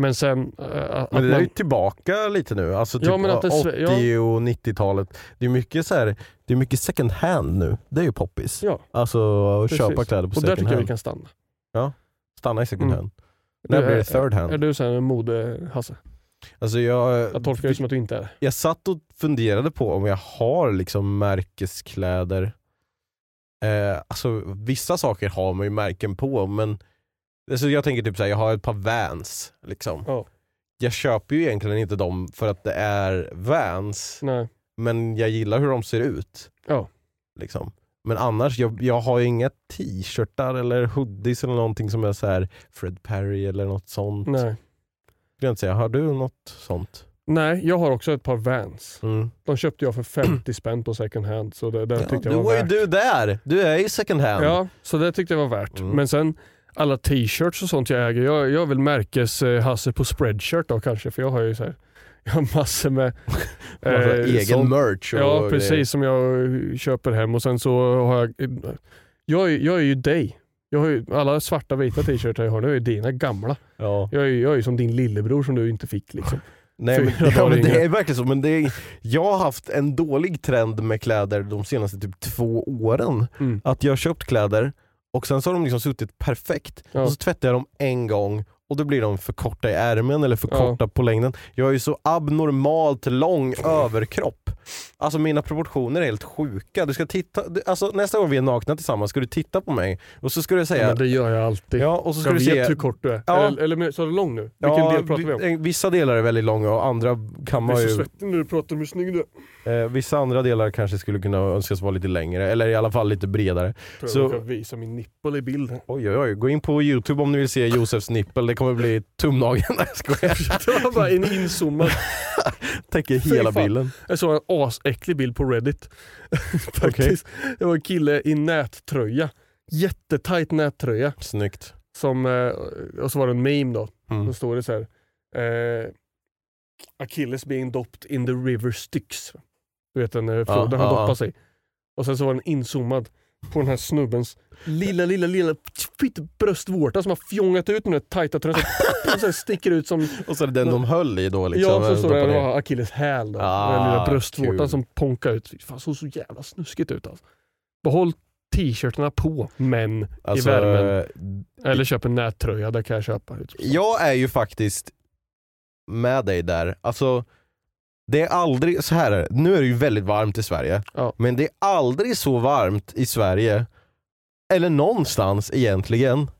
Speaker 2: Men sen... eh, att
Speaker 1: Men det där är
Speaker 2: man,
Speaker 1: ju tillbaka lite nu, alltså typ
Speaker 2: Ja, men att det sve-
Speaker 1: 80
Speaker 2: ja.
Speaker 1: och 90-talet. Det är mycket så här, det är mycket second hand nu. Det är ju poppis.
Speaker 2: ja,
Speaker 1: Alltså att
Speaker 2: precis.
Speaker 1: köpa kläder på
Speaker 2: Och där
Speaker 1: second
Speaker 2: tycker jag vi
Speaker 1: hand.
Speaker 2: kan stanna.
Speaker 1: Stanna i second
Speaker 2: Mm.
Speaker 1: hand. När
Speaker 2: Du
Speaker 1: blir
Speaker 2: är-
Speaker 1: det third hand?
Speaker 2: Är du så här en mode-Hasse?
Speaker 1: Alltså jag,
Speaker 2: Jag tolkar det som att du inte är
Speaker 1: jag satt och funderade på om jag har liksom märkeskläder. Eh, alltså vissa saker har man ju märken på men alltså jag tänker typ såhär, jag har ett par Vans. Liksom.
Speaker 2: Ja.
Speaker 1: Jag köper ju egentligen inte dem för att det är Vans,
Speaker 2: Nej.
Speaker 1: men jag gillar hur de ser ut.
Speaker 2: Ja.
Speaker 1: Liksom. Men annars, jag, jag har ju inga t-shirtar eller hoodies eller någonting som är så här Fred Perry eller något sånt.
Speaker 2: Nej.
Speaker 1: Skulle jag inte säga. Har du något sånt?
Speaker 2: Nej, jag har också ett par Vans.
Speaker 1: Mm.
Speaker 2: De köpte jag för 50 spänn på second hand, så det, det
Speaker 1: Ja,
Speaker 2: tyckte
Speaker 1: då
Speaker 2: jag var
Speaker 1: är
Speaker 2: värt.
Speaker 1: du där! Du är ju second hand.
Speaker 2: Ja, så det tyckte jag var värt.
Speaker 1: Mm.
Speaker 2: Men sen alla t-shirts och sånt jag äger. Jag, jag vill märkes eh, Hasse på spreadshirt då kanske, för jag har ju så här, jag har massor med eh,
Speaker 1: Alltså, egen
Speaker 2: sånt.
Speaker 1: merch och
Speaker 2: Ja,
Speaker 1: grejer.
Speaker 2: precis. Som jag köper hem och sen så har jag... Jag, är- jag är ju dig. Jag har ju, alla svarta vita t-shirtar jag har nu är dina gamla.
Speaker 1: Ja.
Speaker 2: Jag är, ju- jag är ju som din lillebror som du inte fick. Liksom.
Speaker 1: Nej, men,
Speaker 2: Fyra
Speaker 1: ja,
Speaker 2: dagar
Speaker 1: men det
Speaker 2: yngre.
Speaker 1: är verkligen så. Men det är, jag har haft en dålig trend med kläder de senaste typ två åren.
Speaker 2: Mm.
Speaker 1: Att jag har köpt kläder och sen så har de liksom suttit perfekt
Speaker 2: Ja.
Speaker 1: och så tvättar jag dem en gång och då blir de för korta i ärmen eller för korta på längden. Jag är ju så abnormalt lång överkropp. Alltså mina proportioner är helt sjuka. Du ska titta, du- alltså, nästa gång vi är nakna tillsammans ska du titta på mig och så ska du säga
Speaker 2: Men det gör jag alltid.
Speaker 1: Ja, och så ska
Speaker 2: jag
Speaker 1: du
Speaker 2: vet
Speaker 1: se
Speaker 2: hur kort du är.
Speaker 1: Ja.
Speaker 2: Eller, eller men- sa du lång nu? Vilken
Speaker 1: Ja,
Speaker 2: del pratar vi om?
Speaker 1: vi- eh, Vissa delar är väldigt långa och andra kan
Speaker 2: Jag
Speaker 1: man
Speaker 2: är
Speaker 1: ju...
Speaker 2: så svettig när du pratar om hur snygg du är.
Speaker 1: Eh, vissa andra delar kanske skulle kunna önskas vara lite längre, eller i alla fall lite bredare.
Speaker 2: Tror
Speaker 1: Så-
Speaker 2: jag råkar visa min nippel i bilden.
Speaker 1: Oj oj oj, gå in på youtube om ni vill se Josefs nippel, det kommer bli tumnageln. Nej jag skojar.
Speaker 2: Det var bara en inzoomad.
Speaker 1: Täcker
Speaker 2: Fy
Speaker 1: hela
Speaker 2: fan.
Speaker 1: bilden.
Speaker 2: Jag såg en asäcklig bild på Reddit. Faktiskt. Det var en kille i nättröja. Jättetajt nättröja.
Speaker 1: Snyggt.
Speaker 2: Som, eh, och så var det en meme då. Då
Speaker 1: Mm.
Speaker 2: står det så här. Eh, Achilles being dopped in the river Styx. Du vet den eh, floden
Speaker 1: Ja,
Speaker 2: han
Speaker 1: ja,
Speaker 2: doppar
Speaker 1: ja.
Speaker 2: sig. Och sen så var den inzoomad på den här snubbens lilla, lilla, lilla pytt- bröstvårta som har fjongat ut med den där tajta tröjan. Så- Och sen sticker ut som...
Speaker 1: Och så är det den de höll i då liksom.
Speaker 2: ja, så står det
Speaker 1: Doppade
Speaker 2: det
Speaker 1: ner.
Speaker 2: var Achilles häl då.
Speaker 1: Ah,
Speaker 2: den lilla bröstvårtan
Speaker 1: kul.
Speaker 2: som ponkar ut. Fy Fan, såg så jävla snuskigt ut alltså. Behåll t-shirtarna på, men
Speaker 1: Alltså,
Speaker 2: i värmen. Eller köp en nättröja, där kan jag köpa.
Speaker 1: Jag är ju faktiskt med dig där. Alltså, det är aldrig, så här är det. nu är det ju väldigt varmt i Sverige,
Speaker 2: Ja.
Speaker 1: men det är aldrig så varmt i Sverige, eller någonstans egentligen,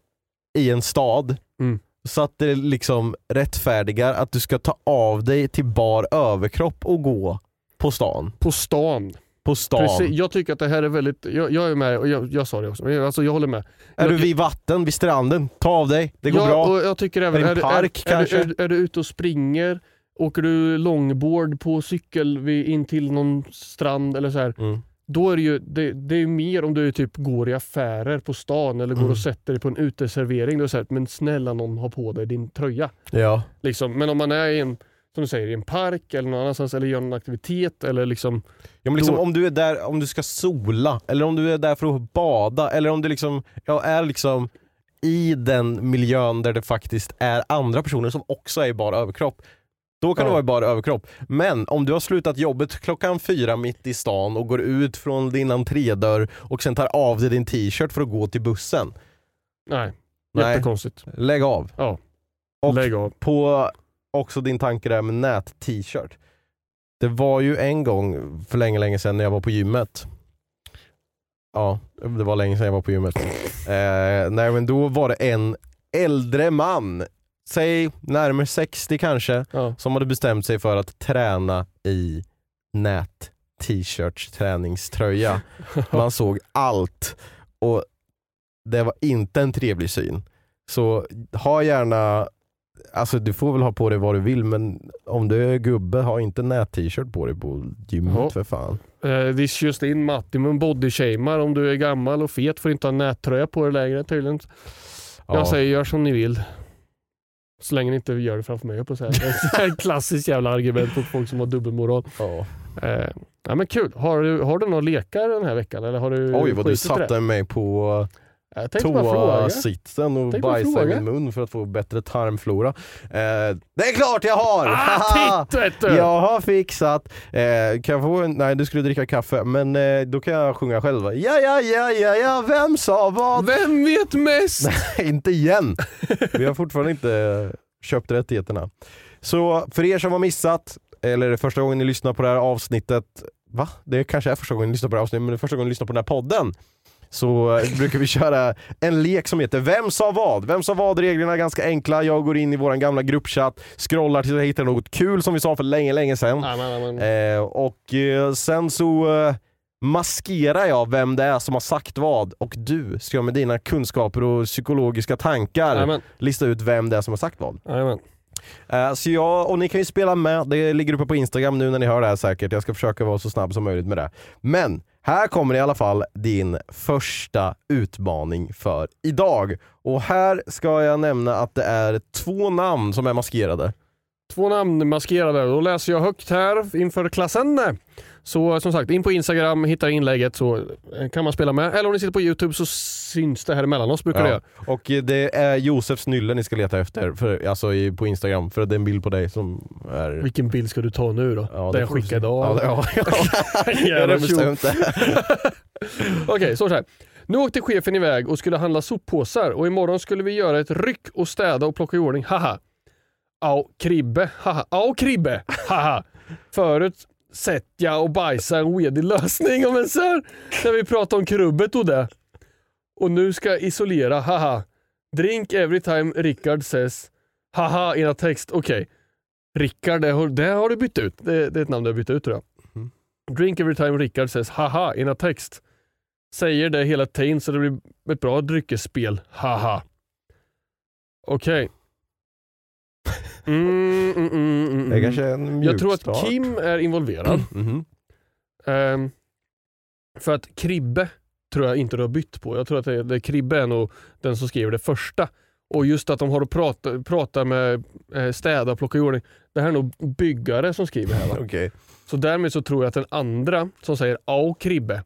Speaker 1: i en stad,
Speaker 2: Mm.
Speaker 1: så att det liksom rättfärdigar att du ska ta av dig till bar överkropp och gå på stan.
Speaker 2: På stan.
Speaker 1: På stan.
Speaker 2: Precis, jag tycker att det här är väldigt, jag, jag är med och jag, jag sa det också, men jag- alltså jag håller med.
Speaker 1: Är
Speaker 2: jag,
Speaker 1: du vid vatten, vid stranden, ta av dig, det går
Speaker 2: ja,
Speaker 1: bra.
Speaker 2: Och jag tycker även,
Speaker 1: Är det en
Speaker 2: du-
Speaker 1: park
Speaker 2: är,
Speaker 1: kanske?
Speaker 2: Är, du- är du ute och springer, åker du långboard på cykel vid, in till någon strand eller så här,
Speaker 1: Mm.
Speaker 2: då är det ju det, det är ju mer om du typ går i affärer på stan eller går
Speaker 1: Mm.
Speaker 2: och sätter dig på en uteservering. Då är det så här, men snälla någon har på dig din tröja.
Speaker 1: Ja.
Speaker 2: Liksom. Men om man är i en, som du säger, i en park eller någon annanstans eller gör någon aktivitet eller liksom,
Speaker 1: Ja, men liksom,
Speaker 2: Då-
Speaker 1: om du är där om du ska sola, eller om du är där för att bada, eller om du liksom, ja, är liksom i den miljön där det faktiskt är andra personer som också är i bara överkropp. Då kan
Speaker 2: Ja.
Speaker 1: du vara i bara överkropp. Men om du har slutat jobbet klockan fyra mitt i stan och går ut från din entrédörr och sen tar av dig din t-shirt för att gå till bussen.
Speaker 2: nej,
Speaker 1: Nej,
Speaker 2: jättekonstigt.
Speaker 1: lägg av.
Speaker 2: Ja.
Speaker 1: Och
Speaker 2: Lägg av.
Speaker 1: på också din tanke där med nät-t-shirt. Det var ju en gång för länge, länge sedan när jag var på gymmet. Ja, det var länge sedan jag var på gymmet. Eh, nej men då var det en äldre man, säg närmare 60 kanske,
Speaker 2: Ja.
Speaker 1: som hade bestämt sig för att träna i nät t-shirts träningströja. Man såg allt och det var inte en trevlig syn. Så ha gärna, alltså du får väl ha på dig vad du vill men om du är gubbe, ha inte nät t-shirt på dig på gymmet
Speaker 2: Ja.
Speaker 1: för fan.
Speaker 2: Uh, this just in Matti, men bodyshamar om du är gammal och fet får inte ha nättröja på dig längre tydligen.
Speaker 1: Ja.
Speaker 2: Jag säger gör som ni vill. Så länge ni inte gör det framför mig jag på så här. Det är ett klassiskt jävla argument mot folk som har dubbelmoral.
Speaker 1: Ja.
Speaker 2: Eh, ja, men kul. Har du, har du några lekar den här veckan? Eller har du
Speaker 1: Oj vad du
Speaker 2: skjutit i det?
Speaker 1: satte mig på
Speaker 2: Jag tänkte bara fråga.
Speaker 1: toasitsen och
Speaker 2: Tänkte bara
Speaker 1: bajsa i
Speaker 2: fråga.
Speaker 1: min mun för att få bättre tarmflora. Eh, det är klart jag har!
Speaker 2: Ah, titt vet du!
Speaker 1: Jag har fixat. Eh, kan jag få en... Nej, du skulle dricka kaffe, men eh, då kan jag sjunga själv. va? Ja, ja, ja, ja, ja, vem sa vad?
Speaker 2: Vem vet mest?
Speaker 1: inte igen. Vi har fortfarande inte eh, köpt rättigheterna. Så för er som har missat, eller är det första gången ni lyssnar på det här avsnittet, va? Det kanske är första gången ni lyssnar på det här avsnittet, men det är första gången ni lyssnar på den här podden. Så eh, brukar vi köra en lek som heter Vem sa vad? Vem sa vad? Reglerna är ganska enkla. Jag går in i vår gamla gruppchatt, scrollar tills jag hittar något kul som vi sa för länge, länge sedan.
Speaker 2: Nej, men, men,
Speaker 1: Eh, och eh, sen så eh, maskerar jag vem det är som har sagt vad och du ska med dina kunskaper och psykologiska tankar
Speaker 2: nej, men,
Speaker 1: lista ut vem det är som har sagt vad.
Speaker 2: nej, men.
Speaker 1: Eh, så jag, och ni kan ju spela med, det ligger uppe på Instagram nu när ni hör det här säkert. Jag ska försöka vara så snabb som möjligt med det. Men här kommer i alla fall din första utmaning för idag. Och här ska jag nämna att det är två namn som är maskerade.
Speaker 2: Två namn maskerade. Då läser jag högt här inför klassen. Så som sagt, in på Instagram, hittar inlägget så eh, kan man spela med. Eller om ni sitter på YouTube så syns det här emellan oss brukar det
Speaker 1: Ja.
Speaker 2: göra.
Speaker 1: Och eh, det är Josefs nylle ni ska leta efter för, alltså i, på Instagram, för det är en bild på dig som är...
Speaker 2: Vilken bild ska du ta nu då?
Speaker 1: Ja,
Speaker 2: Den
Speaker 1: det
Speaker 2: jag
Speaker 1: får vi se.
Speaker 2: skickade idag?
Speaker 1: Ja, det- ja, ja. Jag
Speaker 2: Jävla
Speaker 1: har
Speaker 2: tjo.
Speaker 1: bestämt det.
Speaker 2: Okej, så så här. Nu åkte chefen iväg och skulle handla soppåsar och imorgon skulle vi göra ett ryck och städa och plocka i ordning. Haha. Au, Kribbe. Haha. Au, Kribbe. Haha. Förut sett jag och bajsa en wedig lösning om en sär när vi pratade om krubbet och det. Och nu ska jag isolera. Haha. Drink every time Rickard says. Haha, era text. Okej. Rickard, det har, det har du bytt ut. Det, det är ett namn du har bytt ut tror jag. Drink every time Rickard says. Haha, era text. Säger det hela tiden så det blir ett bra dryckesspel. Haha. Okej. Mm, mm, mm, mm,
Speaker 1: Det är
Speaker 2: mm.
Speaker 1: kanske är en mjuk
Speaker 2: Jag tror att
Speaker 1: start.
Speaker 2: Kim är involverad.
Speaker 1: Mhm. Mm.
Speaker 2: Ehm, för att Kribbe tror jag inte du har bytt på. Jag tror att det, det Kribbe är nog den som skriver det första. Och just att de har att prata, prata med eh, städa och plocka i ordning. Det här är nog byggare som skriver här va?
Speaker 1: Okej.
Speaker 2: Så därmed så tror jag att den andra som säger au kribbe,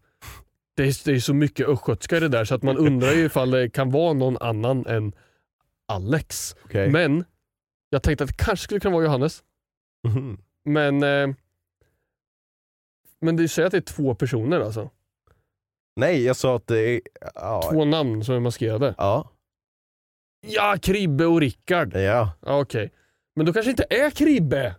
Speaker 2: det är, det är så mycket östgötska i det där så att man undrar ju ifall det kan vara någon annan än Alex.
Speaker 1: Okej.
Speaker 2: Men jag tänkte att det kanske skulle kunna vara Johannes.
Speaker 1: Mhm.
Speaker 2: Men, eh, men det säger att det är två personer alltså.
Speaker 1: Nej, jag sa att det är... Ja.
Speaker 2: Två namn som är maskerade.
Speaker 1: Ja.
Speaker 2: Ja, Kribbe och Rickard.
Speaker 1: ja.
Speaker 2: Ja, Okej. Men då kanske inte är Kribbe.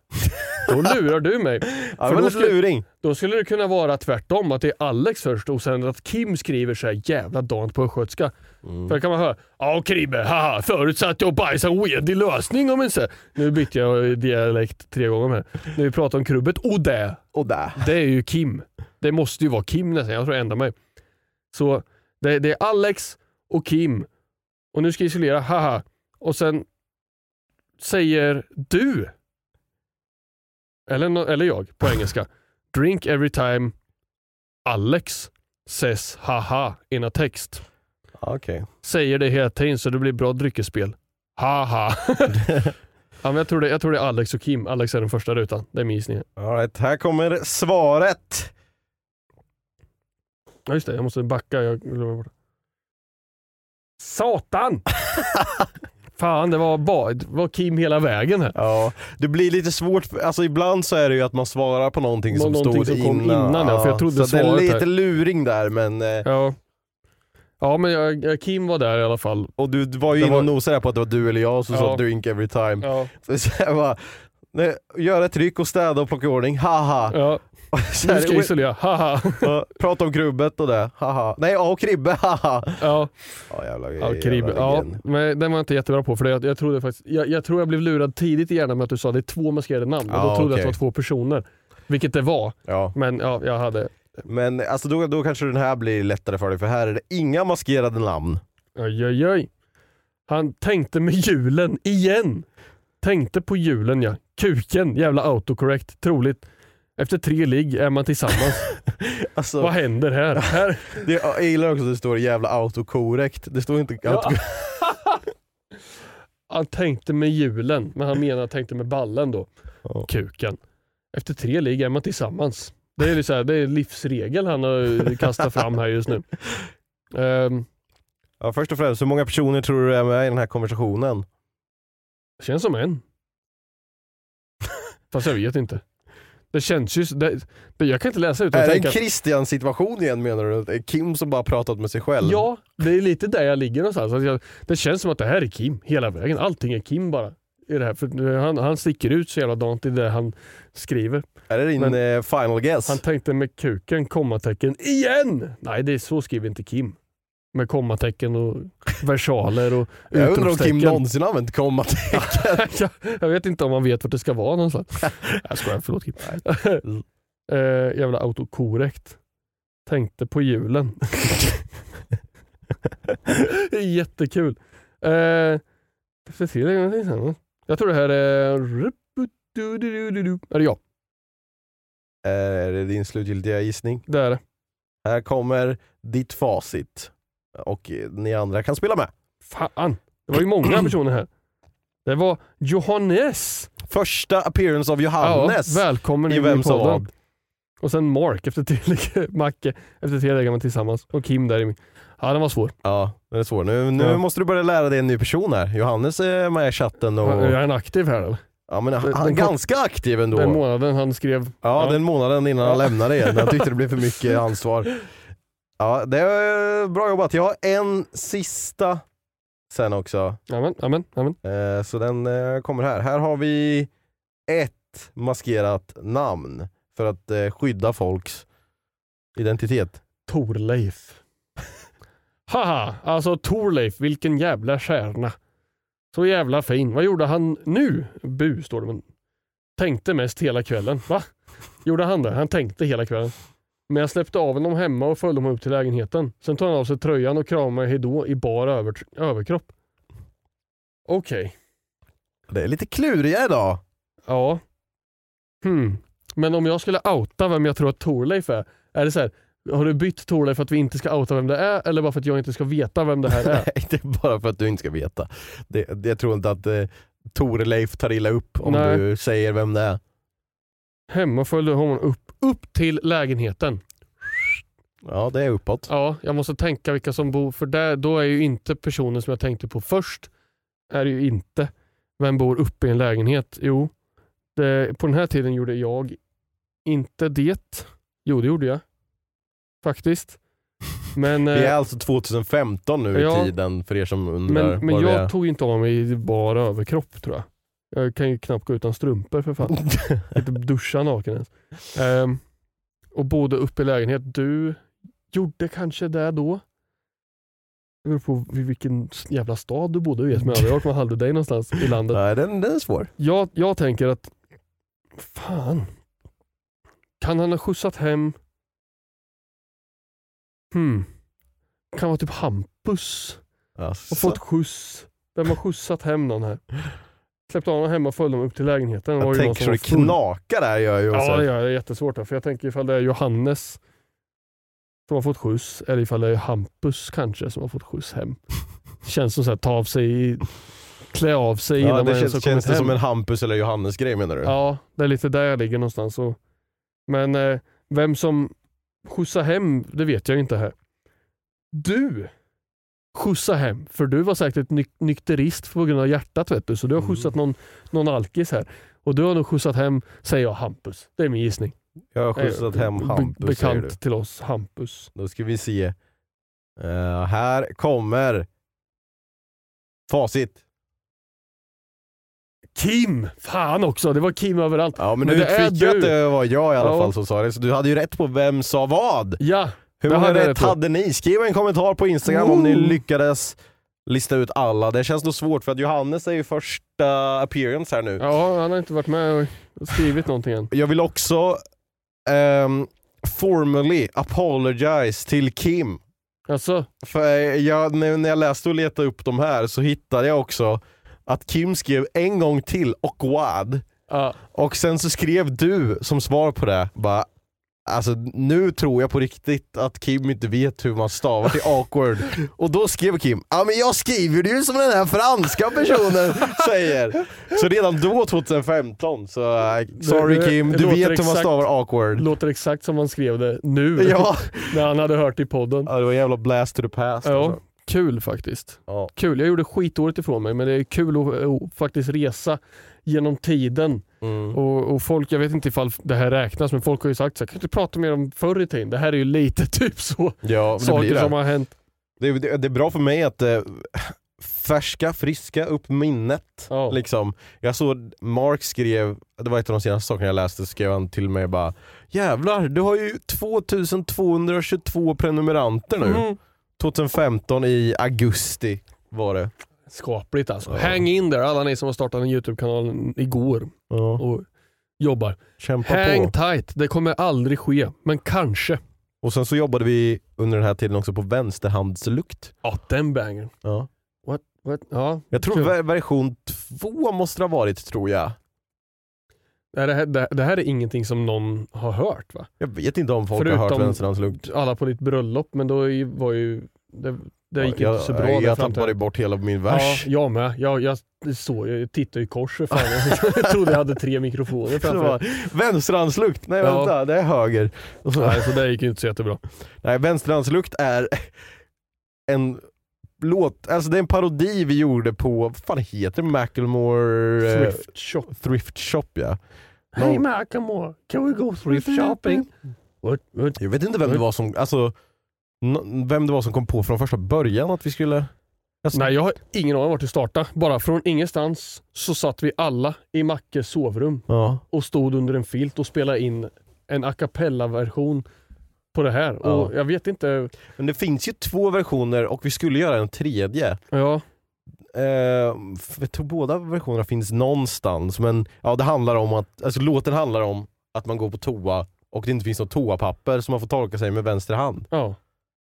Speaker 2: Då lurar du mig.
Speaker 1: ja
Speaker 2: För
Speaker 1: men
Speaker 2: då
Speaker 1: en
Speaker 2: skulle-
Speaker 1: luring.
Speaker 2: Då skulle det kunna vara tvärtom, att det är Alex först och sen att Kim skriver så här jävla dant på östgötska. För då kan man höra ”Ja Kribbe, haha, förut satt jag och bajsade en wedig lösning om inte...” Nu bytte jag dialekt tre gånger här. När vi pratar om krubbet, och det,
Speaker 1: Och där.
Speaker 2: det är ju Kim. Det måste ju vara Kim nästan, jag tror jag ändrar mig. Så det, det är Alex och Kim. Och nu ska jag isolera, haha. Och sen säger du, eller, nå- eller jag på engelska, drink every time Alex says haha in a text.
Speaker 1: Ja, Okej.
Speaker 2: Säger det hela tiden så det blir bra dryckesspel. Haha. ja, men jag, tror det, jag tror det är Alex och Kim. Alex är den första rutan. Det är min gissning.
Speaker 1: All right, här kommer svaret.
Speaker 2: Ja just det, jag måste backa. Jag glömmer bort det. Satan! Fan, det var, ba- det var Kim hela vägen här.
Speaker 1: Ja, det blir lite svårt, för- alltså ibland så är det ju att man svarar på någonting som
Speaker 2: Någonting
Speaker 1: stod
Speaker 2: som kom innan, ja, för jag trodde
Speaker 1: så det är
Speaker 2: svaret
Speaker 1: lite
Speaker 2: här-
Speaker 1: luring där men, eh,
Speaker 2: Ja, ja men jag, jag, Kim var där i alla fall.
Speaker 1: och du du var ju
Speaker 2: Det
Speaker 1: inne och
Speaker 2: var-
Speaker 1: nosade där på att det var du eller jag som
Speaker 2: Ja.
Speaker 1: sa drink every time.
Speaker 2: Ja.
Speaker 1: Så, så jag bara, nej, gör ett tryck och städa och plocka i ordning, haha.
Speaker 2: Ja,
Speaker 1: Så
Speaker 2: nu
Speaker 1: här,
Speaker 2: ska jag isolera. Haha.
Speaker 1: ja, prata om krubbet och det, haha. Nej, ja och kribbe, haha.
Speaker 2: Ja.
Speaker 1: Ja jävla,
Speaker 2: Ja,
Speaker 1: jävla
Speaker 2: Karib. Ja,
Speaker 1: legend.
Speaker 2: men den var jag inte jättebra på för det, jag, jag, trodde faktiskt, jag, jag tror jag blev lurad tidigt i hjärnan med att du sa det är två maskerade namn och
Speaker 1: Ja,
Speaker 2: då trodde jag
Speaker 1: okej.
Speaker 2: att det var två personer. Vilket det var,
Speaker 1: ja.
Speaker 2: men ja, jag hade...
Speaker 1: Men alltså då, då kanske den här blir lättare för dig för här är det inga maskerade namn.
Speaker 2: Oj, oj, oj. Han tänkte med julen igen. Tänkte på julen ja. Kuken, jävla autocorrect. Troligt. Efter tre ligg är man tillsammans.
Speaker 1: Alltså,
Speaker 2: Vad händer här? här?
Speaker 1: Det, jag gillar också att det står jävla autokorrekt. Det står inte
Speaker 2: Ja.
Speaker 1: autokorrekt.
Speaker 2: Han tänkte med julen, men han menar tänkte med ballen då.
Speaker 1: Ja.
Speaker 2: Kuken. Efter tre ligg är man tillsammans. Det är, ju så här, det är livsregel han har kastat fram här just nu. Ehm,
Speaker 1: Ja, först och främst, hur många personer tror du är med i den här konversationen?
Speaker 2: känns som en. Fast jag vet inte. Det känns ju... så- Det, det, jag kan inte läsa ut och
Speaker 1: är det
Speaker 2: tänka
Speaker 1: en
Speaker 2: att-
Speaker 1: Christian-situation igen menar du? Det är Kim som bara pratat med sig själv?
Speaker 2: Ja, det är lite där jag ligger någonstans. Att jag, det känns som att det här är Kim hela vägen. Allting är Kim bara. I det här. För nu- han, han sticker ut så jävla dant i det han skriver.
Speaker 1: Är det din
Speaker 2: Men-
Speaker 1: eh, final guess?
Speaker 2: Han tänkte med kuken, kommatecken, IGEN! Nej, det är så skriver inte Kim. Med kommatecken och versaler och
Speaker 1: jag undrar om Kim
Speaker 2: utropstecken.
Speaker 1: någonsin har använt kommatecken.
Speaker 2: jag, jag vet inte om han vet vart det ska vara någonstans. jag skojar, förlåt Kim. eh, jävla autokorrekt. Tänkte på julen. det är jättekul. Eh, ska se, det är någonting sen. jag tror det här är... Är det jag?
Speaker 1: Eh, är det din slutgiltiga gissning?
Speaker 2: Det är det.
Speaker 1: Här kommer ditt facit. Och eh, ni andra kan spela med.
Speaker 2: Fan, det var ju många personer här. Det var Johannes.
Speaker 1: Första appearance av Johannes.
Speaker 2: Ja, välkommen
Speaker 1: I
Speaker 2: in
Speaker 1: Vem
Speaker 2: i
Speaker 1: som
Speaker 2: podden.
Speaker 1: vad.
Speaker 2: Och sen Mark efter tre Macke efter tre lägger man tillsammans. Och Kim där i min. Ja, den var svår.
Speaker 1: Ja, den är svår. Nu, nu
Speaker 2: Ja.
Speaker 1: måste du börja lära dig en ny person här. Johannes är med i chatten och...
Speaker 2: Jag är han aktiv här eller?
Speaker 1: Ja, men han,
Speaker 2: Den-
Speaker 1: han är
Speaker 2: den-
Speaker 1: ganska aktiv ändå.
Speaker 2: Den månaden han skrev.
Speaker 1: ja,
Speaker 2: ja.
Speaker 1: den månaden innan han
Speaker 2: Ja.
Speaker 1: lämnade er. när Han tyckte det blev för mycket ansvar. Ja, det är eh, bra jobbat. Jag har en sista sen också.
Speaker 2: Amen, amen, amen.
Speaker 1: Eh, Så den eh, kommer här. Här har vi ett maskerat namn för att eh, skydda folks identitet.
Speaker 2: Torleif. Haha, alltså Torleif, vilken jävla stjärna. Så jävla fin. Vad gjorde han nu? Bu, står det. Men tänkte mest hela kvällen. Va? Gjorde han det? Han tänkte hela kvällen. Men jag släppte av honom hemma och följde honom upp till lägenheten. Sen tar han av sig tröjan och kramar hejdå i bar över, överkropp. Okej.
Speaker 1: Det är lite kluriga idag.
Speaker 2: Ja. Hmm. Men om jag skulle outa vem jag tror att Torleif är, är det så här, har du bytt Torleif för att vi inte ska outa vem det är eller bara för att jag inte ska veta vem det här är?
Speaker 1: Nej, det är bara för att du inte ska veta. Det, det, jag tror inte att eh, Torleif tar illa upp om
Speaker 2: Nej.
Speaker 1: du säger vem det är.
Speaker 2: Hemma följde honom upp, upp till lägenheten.
Speaker 1: Ja, det är uppåt.
Speaker 2: Ja, jag måste tänka vilka som bor, för där, då är ju inte personen som jag tänkte på först, är det ju inte. Vem bor uppe i en lägenhet? Jo, det, på den här tiden gjorde jag inte det. Jo, det gjorde jag. Faktiskt. Men, eh,
Speaker 1: Vi är alltså 2015 nu
Speaker 2: Ja.
Speaker 1: i tiden för er som undrar
Speaker 2: men, men
Speaker 1: var
Speaker 2: jag
Speaker 1: vi
Speaker 2: tog inte av mig i bara överkropp tror jag. Jag kan ju knappt gå utan strumpor för fan.
Speaker 1: är.
Speaker 2: Jag kan inte duscha naken ens. Ehm, och bodde uppe i lägenhet. Du gjorde kanske det då. Det beror på i vilken jävla stad du bodde i. Men jag man hade dig någonstans i landet.
Speaker 1: Nej, den, den är svår.
Speaker 2: Jag, jag tänker att, fan. Kan han ha skjutsat hem, hmm. Kan vara typ Hampus.
Speaker 1: Alltså.
Speaker 2: Och fått skjuts. Vem har skjutsat hem någon här? Släppte av honom hemma och följde dem upp till lägenheten. Det var
Speaker 1: jag
Speaker 2: ju någon
Speaker 1: tänker så
Speaker 2: som
Speaker 1: det
Speaker 2: var full.
Speaker 1: knakar där gör jag ju.
Speaker 2: Ja,
Speaker 1: också.
Speaker 2: det gör jag. Det är jättesvårt. Här, för jag tänker ifall det är Johannes som har fått skjuts eller ifall det är Hampus kanske som har fått skjuts hem. Känns som att ta av sig, i- klä av sig
Speaker 1: Ja,
Speaker 2: innan man
Speaker 1: det
Speaker 2: ens har
Speaker 1: känns,
Speaker 2: kommit
Speaker 1: känns det
Speaker 2: hem.
Speaker 1: som en Hampus eller Johannes grej menar du?
Speaker 2: Ja, det är lite där jag ligger någonstans. Och, men eh, vem som skjutsar hem, det vet jag inte här. Du skjutsar hem, för du var säkert ny- nykterist på grund av hjärtat vet du. Så
Speaker 1: Mm.
Speaker 2: du har skjutsat någon, någon alkis här. Och du har nog skjutsat hem, säger jag, Hampus. Det är min gissning.
Speaker 1: Jag har skjutsat
Speaker 2: Eh,
Speaker 1: hem
Speaker 2: be-
Speaker 1: Hampus säger du.
Speaker 2: Bekant till oss, Hampus.
Speaker 1: Då ska vi se. Eh, här kommer facit.
Speaker 2: Kim! Fan också, det var Kim överallt.
Speaker 1: Ja men,
Speaker 2: Men
Speaker 1: du
Speaker 2: det är
Speaker 1: fick ju
Speaker 2: du.
Speaker 1: att det var jag i alla
Speaker 2: Ja.
Speaker 1: fall som sa det, så du hade ju rätt på vem sa vad.
Speaker 2: Ja,
Speaker 1: Hur
Speaker 2: Det
Speaker 1: många
Speaker 2: hade jag
Speaker 1: rätt
Speaker 2: rätt på.
Speaker 1: hade ni? Skriv en kommentar på Instagram om ni
Speaker 2: Woo!
Speaker 1: lyckades lista ut alla. Det känns nog svårt för att Johannes är ju första appearance här nu.
Speaker 2: ja, han har inte varit med och skrivit någonting än.
Speaker 1: Jag vill också ehm, formally apologize till Kim.
Speaker 2: Alltså,
Speaker 1: För eh, jag, när när jag läste och letade upp de här så hittade jag också att Kim skrev en gång till och wad.
Speaker 2: ja.
Speaker 1: Och sen så skrev du som svar på det bara Alltså nu tror jag på riktigt att Kim inte vet hur man stavar till awkward. Och då skrev Kim, ja men jag skriver det ju som den här franska personen säger. Så redan då 2015 så, eh, sorry
Speaker 2: Det- det-
Speaker 1: Kim,
Speaker 2: det
Speaker 1: du
Speaker 2: låter
Speaker 1: vet hur man
Speaker 2: exakt-
Speaker 1: stavar awkward.
Speaker 2: låter exakt som han skrev det nu.
Speaker 1: Ja.
Speaker 2: när han hade hört i podden.
Speaker 1: ja, det var en jävla blast to the past.
Speaker 2: Ja,
Speaker 1: Alltså.
Speaker 2: kul faktiskt.
Speaker 1: Ja.
Speaker 2: Kul. Jag gjorde skitdåligt ifrån mig men det är kul att, att faktiskt resa genom tiden.
Speaker 1: Mm.
Speaker 2: Och, och folk, jag vet inte ifall det här räknas men folk har ju sagt så här, kan du inte prata mer om förr i tiden? Det här är ju lite typ så.
Speaker 1: Ja, men det blir
Speaker 2: Saker
Speaker 1: det.
Speaker 2: som har hänt.
Speaker 1: Det, är- det, det är bra för mig att eh, färska, friska upp minnet.
Speaker 2: Ja.
Speaker 1: Liksom. Jag såg Mark skrev, det var ett av de senaste sakerna jag läste, så skrev han till mig bara Jävlar, du har ju 2222 prenumeranter nu.
Speaker 2: Mm.
Speaker 1: 2015 i augusti var det.
Speaker 2: Skapligt alltså.
Speaker 1: Ja.
Speaker 2: Hang in there alla ni som har startat en YouTube-kanal igår
Speaker 1: Ja.
Speaker 2: och jobbar.
Speaker 1: Kämpa
Speaker 2: Hang
Speaker 1: på.
Speaker 2: tight, det kommer aldrig ske, men kanske.
Speaker 1: Och sen så jobbade vi under den här tiden också på vänsterhandslukt.
Speaker 2: Ja, den bangern.
Speaker 1: Ja.
Speaker 2: What, what? Ja,
Speaker 1: Jag tror
Speaker 2: Kul.
Speaker 1: ver- version två måste det ha varit tror jag.
Speaker 2: Nej, Det här, det, det här är ingenting som någon har hört va?
Speaker 1: Jag vet inte om folk har hört
Speaker 2: Förutom-
Speaker 1: vänsterhandslukt.
Speaker 2: Alla på ditt bröllop, men då är- var ju... Det, det gick
Speaker 1: jag,
Speaker 2: inte så bra.
Speaker 1: Jag,
Speaker 2: där
Speaker 1: jag
Speaker 2: fram till-
Speaker 1: tappade bort hela min
Speaker 2: Ja,
Speaker 1: vers.
Speaker 2: jag med. Jag, jag, såg, jag tittade i kors för fan. Jag trodde jag hade tre mikrofoner
Speaker 1: Så det
Speaker 2: framför.
Speaker 1: var, vänsterhandslukt, nej
Speaker 2: Ja.
Speaker 1: vänta, det är höger. Och så,
Speaker 2: Nej, så det gick ju inte så jättebra.
Speaker 1: nej, vänsterhandslukt är en låt, alltså det är en parodi vi gjorde på, vad fan heter det? Macklemore eh,
Speaker 2: Thrift shop.
Speaker 1: thrift Shop ja.
Speaker 2: Hey
Speaker 1: No.
Speaker 2: Macklemore, can we go thrift shopping? What, what?
Speaker 1: Jag vet inte
Speaker 2: Mm.
Speaker 1: vem det var som, alltså, n- vem det var som kom på från första början att vi skulle... Alltså,
Speaker 2: Nej, jag har ingen aning vart det startade. Bara från ingenstans så satt vi alla i Mackes sovrum
Speaker 1: Ja.
Speaker 2: och stod under en filt och spelade in en a cappella-version på det här. Och jag vet inte...
Speaker 1: Men det finns ju två versioner och vi skulle göra en tredje.
Speaker 2: Ja,
Speaker 1: Eh, för jag tror båda versionerna finns någonstans, men ja, det handlar om att, alltså låten handlar om att man går på toa och det inte finns något toapapper så man får torka sig med vänster hand.
Speaker 2: ja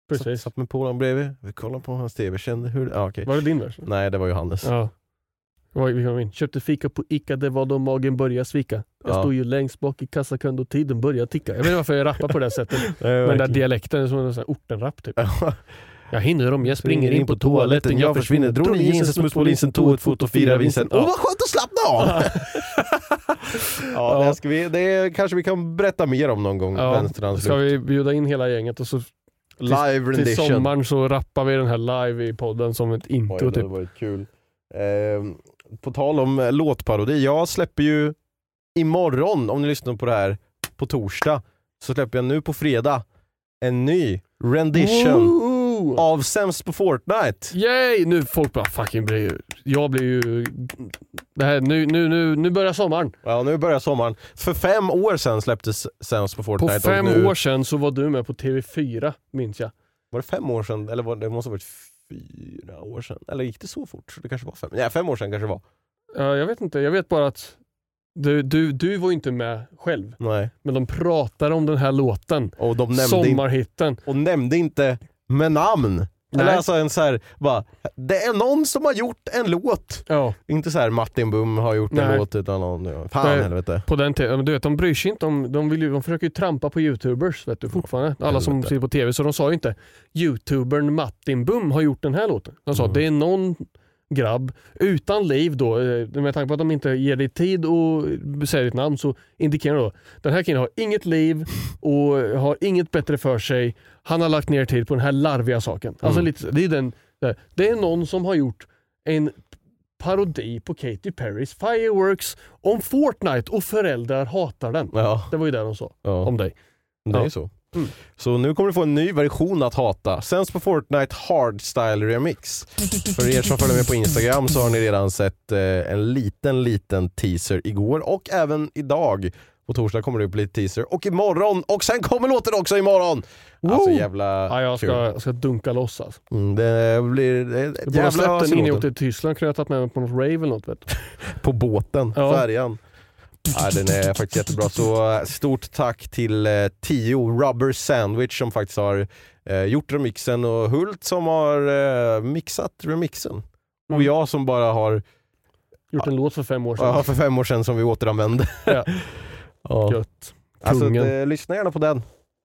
Speaker 2: precis.
Speaker 1: Satt, satt med polaren bredvid, vi kollade på hans tv, kände hur, ja okej.
Speaker 2: Var det din vers?
Speaker 1: Nej det var Johannes.
Speaker 2: Ja. Vad vi kom in. Köpte fika på Ica, det var då magen började svika. Jag
Speaker 1: Ja.
Speaker 2: stod ju längst bak i kassakön då tiden började ticka. Jag vet inte varför jag rappar på det här sättet. Men den där
Speaker 1: verkligen.
Speaker 2: dialekten är som en sån här ortenrapp typ. Jag hinner om jag springer in på
Speaker 1: toaletten, jag försvinner, drog i jeansen, smuts på linsen, tog ett foto, firade vinsten. Åh vad
Speaker 2: Ja.
Speaker 1: skönt att slappna av! ja, det,
Speaker 2: Ja.
Speaker 1: här ska vi, det kanske vi kan berätta mer om någon gång.
Speaker 2: Ja. Ska
Speaker 1: Vänsterhandslukt.
Speaker 2: vi bjuda in hela gänget och så
Speaker 1: Live
Speaker 2: till
Speaker 1: rendition.
Speaker 2: sommaren så rappar vi den här live i podden som ett
Speaker 1: Oj,
Speaker 2: intro
Speaker 1: det
Speaker 2: typ.
Speaker 1: hade varit kul. Ehm, på tal om eh, låtparodi, jag släpper ju imorgon, om ni lyssnar på det här, på torsdag, så släpper jag nu på fredag en ny rendition
Speaker 2: Woo!
Speaker 1: av Sämst på Fortnite.
Speaker 2: Yay! Nu folk bara fucking blir Jag blir ju... Det här, nu, nu, nu, nu börjar sommaren.
Speaker 1: Ja, nu börjar sommaren. För fem år sedan släpptes Sämst på
Speaker 2: På
Speaker 1: Fortnite. och
Speaker 2: fem
Speaker 1: nu,
Speaker 2: år sedan så var du med på TV4, minns jag.
Speaker 1: Var det fem år sedan? Eller var det, det måste ha varit fyra år sedan. Eller gick det så fort? Det kanske var fem. Nej, fem år sedan kanske det var.
Speaker 2: Ja, jag vet inte, jag vet bara att du, du, du var inte med själv,
Speaker 1: Nej.
Speaker 2: men de pratade om den här låten.
Speaker 1: Och de nämnde, in,
Speaker 2: Sommarhitten.
Speaker 1: och nämnde inte med namn. Eller
Speaker 2: Nej.
Speaker 1: alltså en så här, bara, det är någon som har gjort en låt.
Speaker 2: Ja,
Speaker 1: Inte så här Martin Bum har gjort en
Speaker 2: Nej.
Speaker 1: låt utan någon, ja, fan
Speaker 2: Nej.
Speaker 1: helvete.
Speaker 2: på den tiden. Du vet, de bryr sig inte om... De, vill ju, de försöker ju trampa på youtubers vet du, fortfarande. Alla som
Speaker 1: helvete.
Speaker 2: sitter på tv. Så de sa ju inte youtubern Martin Bum har gjort den här låten. De sa det är någon grabb utan liv då. eh, Med tanke på att de inte ger dig tid att säga ditt namn så indikerar de då den här killen har inget liv och har inget bättre för sig. Han har lagt ner tid på den här larviga saken. Alltså lite, så- det, är den, det är någon som har gjort en parodi på Katy Perrys Fireworks om Fortnite och föräldrar hatar den.
Speaker 1: Ja,
Speaker 2: Det var ju det de sa
Speaker 1: ja.
Speaker 2: om dig.
Speaker 1: det är
Speaker 2: Ja. Mm.
Speaker 1: ju så. Så nu kommer du få en ny version att hata. Sänds på Fortnite Hardstyle Remix. För er som följer med på Instagram så har ni redan sett eh, en liten, liten teaser igår och även idag. På torsdag kommer det upp lite teaser och imorgon och sen kommer låten också imorgon! Alltså
Speaker 2: Woo!
Speaker 1: jävla
Speaker 2: Ja, jag, ska,
Speaker 1: kul.
Speaker 2: jag ska dunka loss alltså.
Speaker 1: Mm, det blir... Det,
Speaker 2: Jag borde ha släppt den
Speaker 1: ös i
Speaker 2: innan jag
Speaker 1: låten.
Speaker 2: åkte till Tyskland. Kunde jag ha tagit med mig på något rave eller något. Vet du.
Speaker 1: på båten,
Speaker 2: Ja.
Speaker 1: färjan. Ja, den är faktiskt jättebra. Så eh, stort tack till eh, Tio Rubber Sandwich som faktiskt har eh, gjort remixen och Hult som har eh, mixat remixen.
Speaker 2: Mm.
Speaker 1: Och jag som bara har,
Speaker 2: Gjort en låt för fem år sedan.
Speaker 1: ja, för fem år sedan som vi återanvände.
Speaker 2: Ja.
Speaker 1: Ja.
Speaker 2: Gött.
Speaker 1: Alltså,
Speaker 2: Kungen.
Speaker 1: eh, lyssna gärna på den.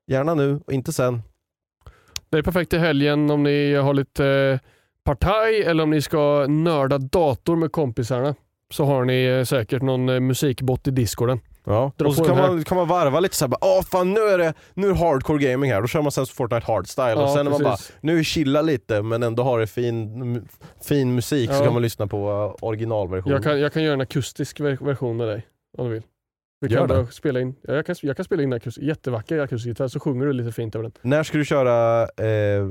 Speaker 1: Gärna nu och inte sen.
Speaker 2: Det är perfekt i helgen om ni har lite eh, partaj eller om ni ska nörda dator med kompisarna. Så har ni eh, säkert någon eh, musikbot i discorden.
Speaker 1: Ja.
Speaker 2: Dra
Speaker 1: Och så
Speaker 2: på
Speaker 1: kan
Speaker 2: den här.
Speaker 1: man, kan man varva lite såhär, bara, åh fan nu är det nu är det hardcore gaming här, då kör man sen så Fortnite hardstyle och
Speaker 2: Ja,
Speaker 1: sen när man bara,
Speaker 2: precis.
Speaker 1: nu chilla lite men ändå har det fin, m- fin musik så
Speaker 2: Ja.
Speaker 1: kan man lyssna på eh, originalversionen.
Speaker 2: Jag kan, jag kan göra en akustisk ver- version med dig om du vill. Vi
Speaker 1: Gör
Speaker 2: kan
Speaker 1: det.
Speaker 2: bara spela in. Ja, jag, kan, jag kan spela in en akus, jättevacker akustisk gitarr så sjunger du lite fint över den.
Speaker 1: När ska du köra eh,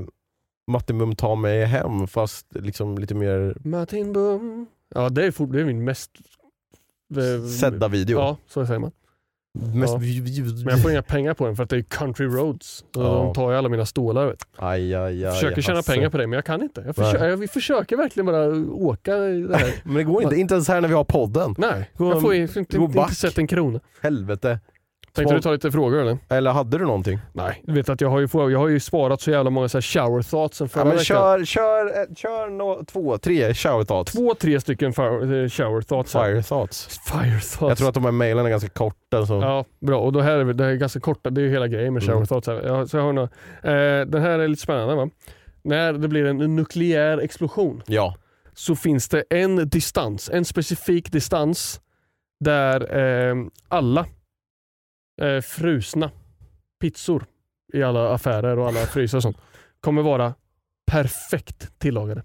Speaker 1: Martin Bum ta mig hem fast liksom lite mer
Speaker 2: Martin Bum. Ja, det är, fort, det är min mest... eh,
Speaker 1: sedda video?
Speaker 2: Ja, så säger man.
Speaker 1: Mest
Speaker 2: Ja.
Speaker 1: vi- vi-
Speaker 2: Men jag får inga pengar på den för att det är country roads. Så
Speaker 1: Ja.
Speaker 2: De tar ju alla mina stålar. Vet. du.
Speaker 1: Aj, aj, aj,
Speaker 2: Jag försöker tjäna
Speaker 1: Hasse.
Speaker 2: pengar på det men jag kan inte. Jag
Speaker 1: Nej.
Speaker 2: försöker, jag, vi försöker verkligen bara åka i det här.
Speaker 1: Men det går inte, inte ens här när vi har podden.
Speaker 2: Nej,
Speaker 1: Gå-
Speaker 2: jag får ju inte, inte,
Speaker 1: gå back.
Speaker 2: inte sett en krona.
Speaker 1: Helvete.
Speaker 2: Tänkte du ta lite frågor eller?
Speaker 1: Eller hade du någonting?
Speaker 2: Nej, du vet att jag har ju, jag har ju sparat så jävla många så här shower thoughts sen förra
Speaker 1: Ja, men
Speaker 2: veckan.
Speaker 1: kör, kör, eh, kör no, två, tre shower thoughts.
Speaker 2: Två, tre stycken fire, eh, shower thoughts. här.
Speaker 1: Fire thoughts.
Speaker 2: Fire thoughts.
Speaker 1: Jag tror att de här mejlen är ganska korta. Så.
Speaker 2: Ja, bra. Och det här är, väl- det här är ganska korta, det är ju hela grejen med shower
Speaker 1: Mm.
Speaker 2: thoughts. Här. Jag, så jag har några, eh, den här är lite spännande va? När det blir en nukleär explosion
Speaker 1: Ja.
Speaker 2: så finns det en distans, en specifik distans där eh, alla eh, frusna pizzor i alla affärer och alla frysar och sånt kommer vara perfekt tillagade.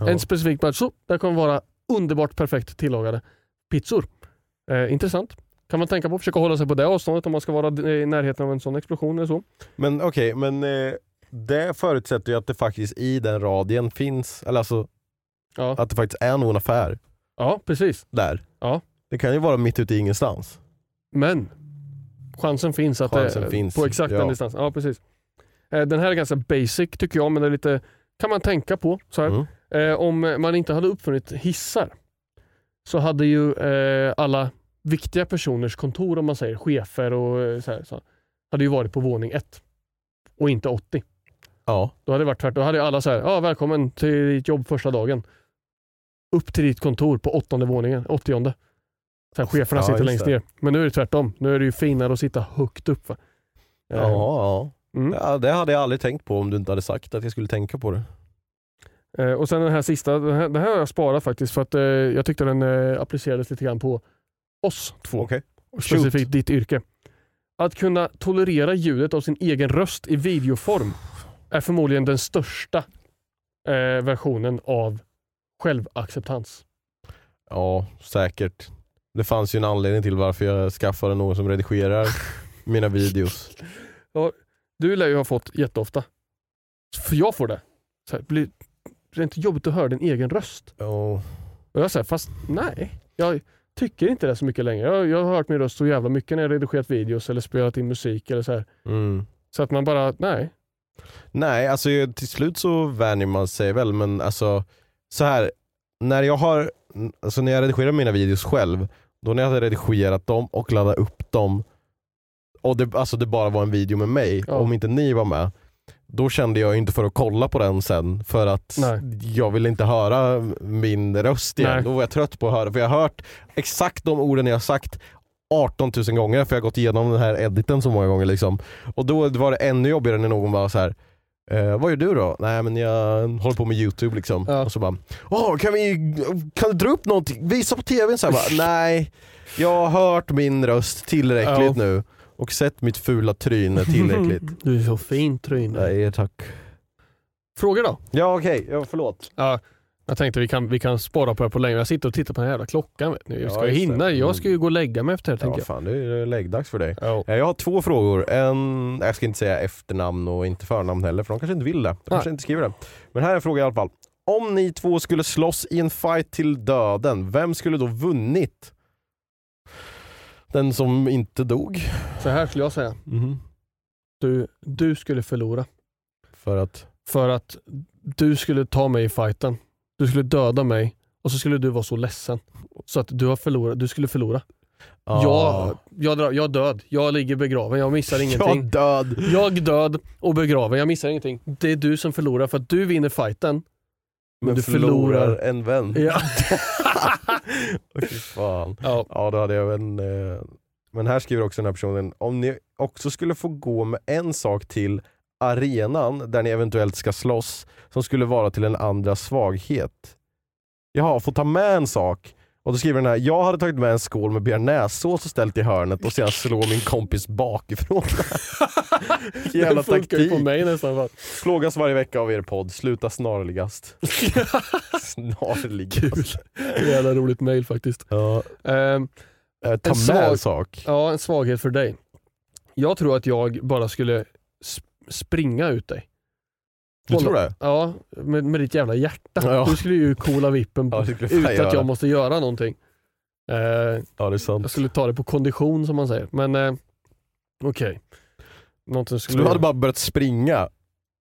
Speaker 1: Ja.
Speaker 2: En specifik match. Så där kommer vara underbart perfekt tillagade pizzor. Eh, intressant. Kan man tänka på. Försöka hålla sig på det avståndet om man ska vara i närheten av en sån explosion eller så.
Speaker 1: Men okej, men eh, det förutsätter ju att det faktiskt i den radien finns, eller alltså
Speaker 2: Ja,
Speaker 1: att det faktiskt är någon affär
Speaker 2: ja precis.
Speaker 1: där.
Speaker 2: Ja.
Speaker 1: Det kan ju vara mitt ute i ingenstans.
Speaker 2: Men chansen finns att
Speaker 1: Chansen
Speaker 2: det
Speaker 1: finns,
Speaker 2: på exakt
Speaker 1: ja.
Speaker 2: den distansen. Ja, precis. Eh, den här är ganska basic tycker jag, men det är lite kan man tänka på. Så här.
Speaker 1: Mm.
Speaker 2: Eh, om man inte hade uppfunnit hissar så hade ju eh, alla viktiga personers kontor, om man säger chefer och eh, så här, så, hade ju varit på våning ett och inte 80.
Speaker 1: Ja.
Speaker 2: Då hade det varit tvärtom. Då hade ju alla så här, ja välkommen till ditt jobb första dagen. Upp till ditt kontor på åttonde våningen, åttionde. Så här, cheferna
Speaker 1: Ja,
Speaker 2: sitter
Speaker 1: just
Speaker 2: längst
Speaker 1: det.
Speaker 2: ner. Men nu är det tvärtom. Nu är det ju finare att sitta högt upp. Va? Eh,
Speaker 1: Ja, ja.
Speaker 2: Mm.
Speaker 1: ja. Det hade jag aldrig tänkt på om du inte hade sagt att jag skulle tänka på det.
Speaker 2: Eh, och sen den här sista, den här, den här har jag sparat faktiskt för att eh, jag tyckte den eh, applicerades lite grann på oss två.
Speaker 1: Okej.
Speaker 2: Och specifikt ditt yrke. Att kunna tolerera ljudet av sin egen röst i videoform är förmodligen den största eh, versionen av självacceptans.
Speaker 1: Ja, säkert. Det fanns ju en anledning till varför jag skaffade någon som redigerar mina videos.
Speaker 2: Du lär ju ha fått jätteofta. För jag får det. Så här, blir det är inte jobbigt att höra din egen röst?
Speaker 1: Oh.
Speaker 2: Och jag säger fast nej. Jag tycker inte det så mycket längre. Jag, jag har hört min röst så jävla mycket när jag redigerat videos eller spelat in musik eller så här.
Speaker 1: Mm.
Speaker 2: Så att man bara, nej.
Speaker 1: Nej, alltså ju- till slut så vänjer man sig väl, men alltså så här när jag har, alltså när jag redigerar mina videos själv, då när jag hade redigerat dem och laddat upp dem, och det, alltså det bara var en video med mig,
Speaker 2: Ja.
Speaker 1: om inte ni var med, då kände jag ju inte för att kolla på den sen för att
Speaker 2: Nej.
Speaker 1: jag ville inte höra min röst igen.
Speaker 2: Nej.
Speaker 1: Då var jag trött på att höra, för jag har hört exakt de orden jag har sagt 18 000 gånger för jag har gått igenom den här editen så många gånger. Liksom. Och då var det ännu jobbigare när någon var så här. Eh, vad gör du då? Nej men jag håller på med youtube liksom.
Speaker 2: Ja.
Speaker 1: Och så bara, Åh, kan, vi, kan du dra upp någonting? Visa på tvn? Så här, bara, Nej, jag har hört min röst tillräckligt
Speaker 2: Ja.
Speaker 1: nu. Och sett mitt fula tryne tillräckligt.
Speaker 2: Du är så fin tryne.
Speaker 1: Nej tack.
Speaker 2: Frågor då?
Speaker 1: Ja okej, ja, förlåt.
Speaker 2: Ja, jag tänkte vi kan, vi kan spara på det på längre. Jag sitter och tittar på den här jävla klockan. Vet ni. Vi
Speaker 1: Ja,
Speaker 2: ska ju
Speaker 1: just
Speaker 2: hinna.
Speaker 1: det. Mm.
Speaker 2: Jag ska ju gå och lägga mig efter det här
Speaker 1: Ja,
Speaker 2: tänker
Speaker 1: fan, det är läggdags för dig.
Speaker 2: jag. Ja.
Speaker 1: Eh, Jag har två frågor. En, jag ska inte säga efternamn och inte förnamn heller, för de kanske inte vill det. De kanske inte skriver det. Men här är en fråga i alla fall. Om ni två skulle slåss i en fight till döden, vem skulle då vunnit? Den som inte dog. Mhm.
Speaker 2: Så här skulle jag säga.
Speaker 1: Mm.
Speaker 2: Du, du skulle förlora.
Speaker 1: För att...
Speaker 2: För att du skulle ta mig i fighten. Du skulle döda mig och så skulle du vara så ledsen. Så att du, har förlorat, du skulle förlora.
Speaker 1: Ah.
Speaker 2: Jag, jag, drar- jag är död. Jag ligger begraven. Jag missar
Speaker 1: Jag
Speaker 2: ingenting.
Speaker 1: död.
Speaker 2: Jag är död och begraven. Jag missar ingenting. Det är du som förlorar för att du vinner fighten.
Speaker 1: Men du förlorar en vän.
Speaker 2: Ja.
Speaker 1: Fy fan.
Speaker 2: ja.
Speaker 1: Ja, då hade jag en... eh, Men här skriver också den här personen, om ni också skulle få gå med en sak till arenan där ni eventuellt ska slåss, som skulle vara till en andras svaghet. Jaha, få ta med en sak. Och då skriver den här, jag hade tagit med en skål med bearnaisesås och ställt i hörnet och sedan slå min kompis bakifrån. Jävla
Speaker 2: det funkar ju
Speaker 1: taktik.
Speaker 2: på mig nästan. Bara.
Speaker 1: Plågas varje vecka av er podd, sluta snarligast.
Speaker 2: Kul.
Speaker 1: snarligast.
Speaker 2: Jävla roligt mail faktiskt.
Speaker 1: Ja,
Speaker 2: Ehm,
Speaker 1: eh, ta
Speaker 2: En
Speaker 1: med
Speaker 2: svag-
Speaker 1: en sak.
Speaker 2: ja, en svaghet för dig. Jag tror att jag bara skulle sp- springa ut dig.
Speaker 1: Du tror det?
Speaker 2: Ja, med, med ditt jävla hjärta.
Speaker 1: Ja.
Speaker 2: Du skulle ju coola vippen
Speaker 1: Ja, det skulle jag fan
Speaker 2: utan att
Speaker 1: göra.
Speaker 2: jag måste göra någonting. Eh,
Speaker 1: Ja, det är sant.
Speaker 2: jag skulle ta det på kondition som man säger. Men eh, okej. Någonting
Speaker 1: Så
Speaker 2: skulle...
Speaker 1: du hade bara börjat springa.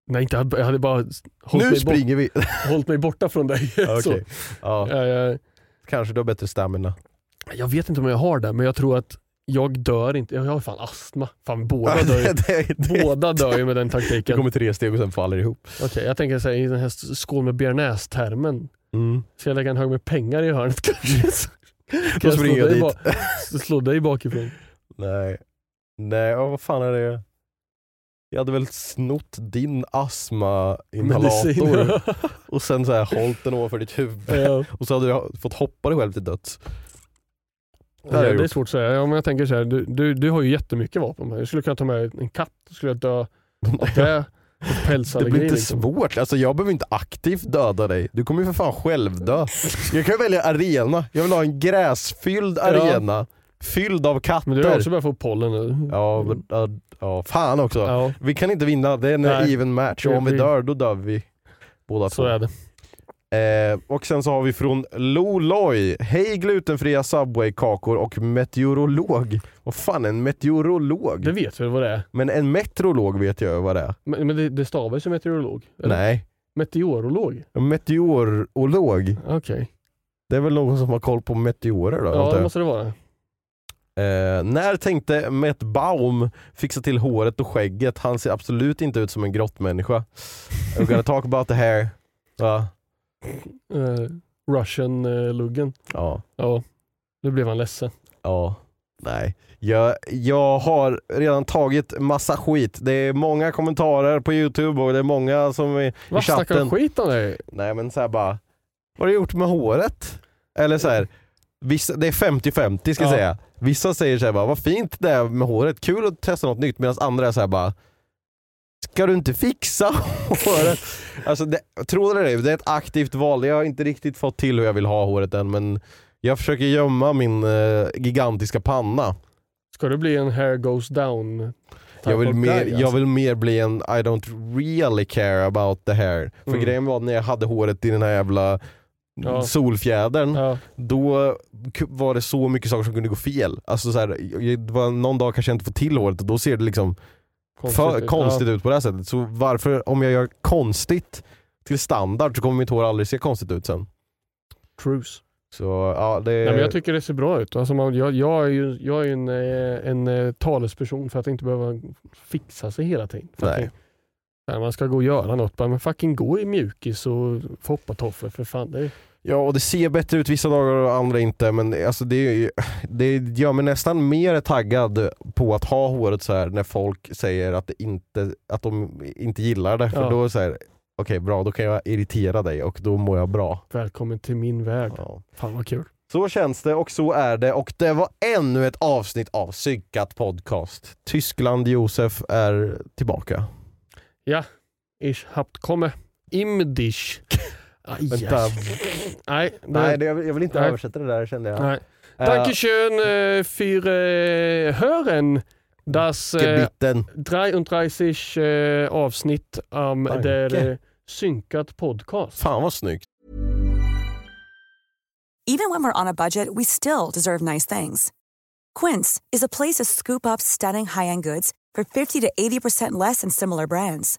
Speaker 2: Nej, inte, jag hade bara hållit
Speaker 1: Nu
Speaker 2: mig, bort,
Speaker 1: springer vi!
Speaker 2: hållit mig borta från dig.
Speaker 1: Ja,
Speaker 2: Så.
Speaker 1: okej. ja,
Speaker 2: Eh,
Speaker 1: kanske du har bättre stamina.
Speaker 2: jag vet inte om jag har det, men jag tror att jag dör inte. Jag har fan astma. Fan, båda dör ju.
Speaker 1: det, det,
Speaker 2: Båda dör ju med den
Speaker 1: det
Speaker 2: taktiken.
Speaker 1: kommer tre steg och sen faller det ihop.
Speaker 2: Okej, jag tänker säga i den här skål med bearnaise-termen. Ska jag lägga en hög med pengar i hörnet kanske? Så Mm. kan
Speaker 1: Då springer
Speaker 2: slå
Speaker 1: jag
Speaker 2: dig
Speaker 1: dit.
Speaker 2: ba- s- slå dig bakifrån.
Speaker 1: Nej, Nej ja, vad fan är det? Jag hade väl snott din astmainhalator
Speaker 2: Medicin.
Speaker 1: och sen så här hållit den ovanför ditt huvud
Speaker 2: ja.
Speaker 1: och så hade du fått hoppa dig själv till döds. Det
Speaker 2: Ja,
Speaker 1: hade jag
Speaker 2: det är
Speaker 1: gjort.
Speaker 2: svårt att säga. Ja, men jag tänker så här, du, du, du har ju jättemycket vapen. Jag skulle kunna ta med en katt, då skulle jag dö av det. Och
Speaker 1: Det blir
Speaker 2: Pälsallergi
Speaker 1: inte
Speaker 2: liksom.
Speaker 1: svårt, alltså, jag behöver inte aktivt döda dig. Du kommer ju för fan själv dö. Jag kan ju välja arena, jag vill ha en gräsfylld arena fylld av katter.
Speaker 2: Men du har också börjat få pollen nu.
Speaker 1: Ja, men, ja, ja, fan också.
Speaker 2: Ja,
Speaker 1: Vi kan inte vinna, det är en
Speaker 2: Nej.
Speaker 1: even match och om vi
Speaker 2: Vi-
Speaker 1: dör då dör vi båda
Speaker 2: så
Speaker 1: två.
Speaker 2: är det.
Speaker 1: Eh, och sen så har vi från Loloy. Hej glutenfria Subway-kakor och meteorolog. Vad fan är en meteorolog?
Speaker 2: Det vet vi vad det är.
Speaker 1: Men en meteorolog vet jag ju vad det är.
Speaker 2: Men, men det, det stavar ju som meteorolog. eller?
Speaker 1: Nej,
Speaker 2: Meteorolog?
Speaker 1: en meteorolog.
Speaker 2: Okej.
Speaker 1: Det är väl någon som har koll på meteorer då?
Speaker 2: Ja,
Speaker 1: antar
Speaker 2: det
Speaker 1: jag.
Speaker 2: måste det vara.
Speaker 1: Eh, när tänkte Matt Baum fixa till håret och skägget? Han ser absolut inte ut som en grottmänniska. We're gonna talk about the hair. Ja.
Speaker 2: Eh, Russian-luggen.
Speaker 1: Ja.
Speaker 2: ja, nu blev han ledsen.
Speaker 1: Ja. Nej. Jag, jag har redan tagit massa skit. Det är många kommentarer på youtube och det är många som är i
Speaker 2: Vad snackar
Speaker 1: chatten.
Speaker 2: han skit om dig?
Speaker 1: Nej men såhär bara, vad har du gjort med håret? Eller så här, vissa, det är 50-50 ska jag
Speaker 2: Ja.
Speaker 1: säga. Vissa säger såhär bara, vad fint det är med håret, kul att testa något nytt. Medan andra är såhär bara, ska du inte fixa håret? alltså det, tro det eller ej, det är ett aktivt val. Jag har inte riktigt fått till hur jag vill ha håret än men jag försöker gömma min eh, gigantiska panna.
Speaker 2: Ska du bli en hair goes down
Speaker 1: Jag vill,
Speaker 2: bort
Speaker 1: mer,
Speaker 2: där,
Speaker 1: jag
Speaker 2: alltså.
Speaker 1: vill mer bli en I don't really care about the hair. För
Speaker 2: Mm.
Speaker 1: grejen var när jag hade håret i den här jävla
Speaker 2: Ja.
Speaker 1: solfjädern,
Speaker 2: Ja.
Speaker 1: då k- var det så mycket saker som kunde gå fel. Alltså så här, jag- det var någon dag kanske jag inte får till håret och då ser det liksom konstigt, för,
Speaker 2: ut.
Speaker 1: konstigt ut på det här sättet. Så varför, om jag gör konstigt till standard så kommer mitt hår aldrig se konstigt ut sen.
Speaker 4: Cruise.
Speaker 1: Så ja, det...
Speaker 2: Nej, men jag tycker det ser bra ut. Alltså man, jag, jag är ju jag är ju en, eh, en eh, talesperson för att inte behöva fixa sig hela tiden.
Speaker 1: Nej.
Speaker 2: Fucking- När man ska gå och göra något, bara, men fucking gå i mjukis och foppatofflor för fan. Det är,
Speaker 1: Ja, och det ser bättre ut vissa dagar och andra inte, men alltså det, är ju- det gör mig nästan mer taggad på att ha håret så här när folk säger att, det inte, att de inte gillar det. För
Speaker 2: Ja.
Speaker 1: då är det så här, okej bra, då kan jag irritera dig och då mår jag bra.
Speaker 2: välkommen till min värld.
Speaker 1: Ja.
Speaker 2: Fan vad kul.
Speaker 1: Så känns det och så är det och det var ännu ett avsnitt av Psykat Podcast. Tyskland Josef är tillbaka.
Speaker 2: Ich habt komme im dich. Aj,
Speaker 1: Vänta.
Speaker 2: Nej, det,
Speaker 1: Nej, det, Eh. jag, vill, jag vill inte
Speaker 2: Nej.
Speaker 1: översätta det där kände jag.
Speaker 2: nej. Dankeschön äh, für äh, hören das äh,
Speaker 1: Gebitten.
Speaker 2: 33 äh, avsnitt om
Speaker 1: Danke.
Speaker 2: der äh, synkat podcast.
Speaker 1: Fan vad snyggt.
Speaker 5: Even when we're on a budget, we still deserve nice things. Quince is a place to scoop up stunning high-end goods for 50 to 80% less than similar brands.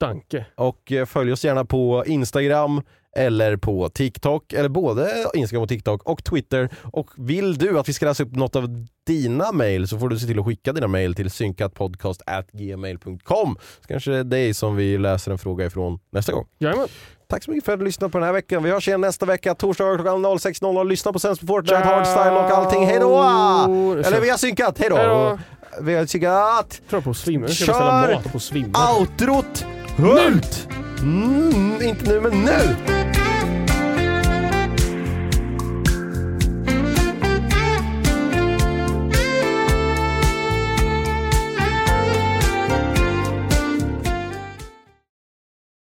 Speaker 2: Danke.
Speaker 1: Och eh, följ oss gärna på Instagram eller på TikTok, eller både Instagram och TikTok och Twitter. Och vill du att vi ska läsa upp något av dina mejl så får du se till att skicka dina mejl till synkatpodcastgmail.com så kanske det är dig som vi läser en fråga ifrån nästa gång.
Speaker 2: Jajamän.
Speaker 1: Tack så mycket för att du lyssnade på den här veckan. Vi hörs igen nästa vecka, torsdagar klockan 06.00. Lyssna på Sens på Fortnite,
Speaker 2: Ciao.
Speaker 1: Hardstyle och allting. Hej då!
Speaker 2: Det
Speaker 1: Eller
Speaker 2: känns-
Speaker 1: vi har synkat, hej då!
Speaker 2: Hejdå.
Speaker 1: Vi har synkat!
Speaker 2: Jag tror jag på att svimma. Jag ska
Speaker 1: Kör!
Speaker 2: beställa mat på svimma.
Speaker 1: Outrot! Hult! Mm, inte nu, men nu!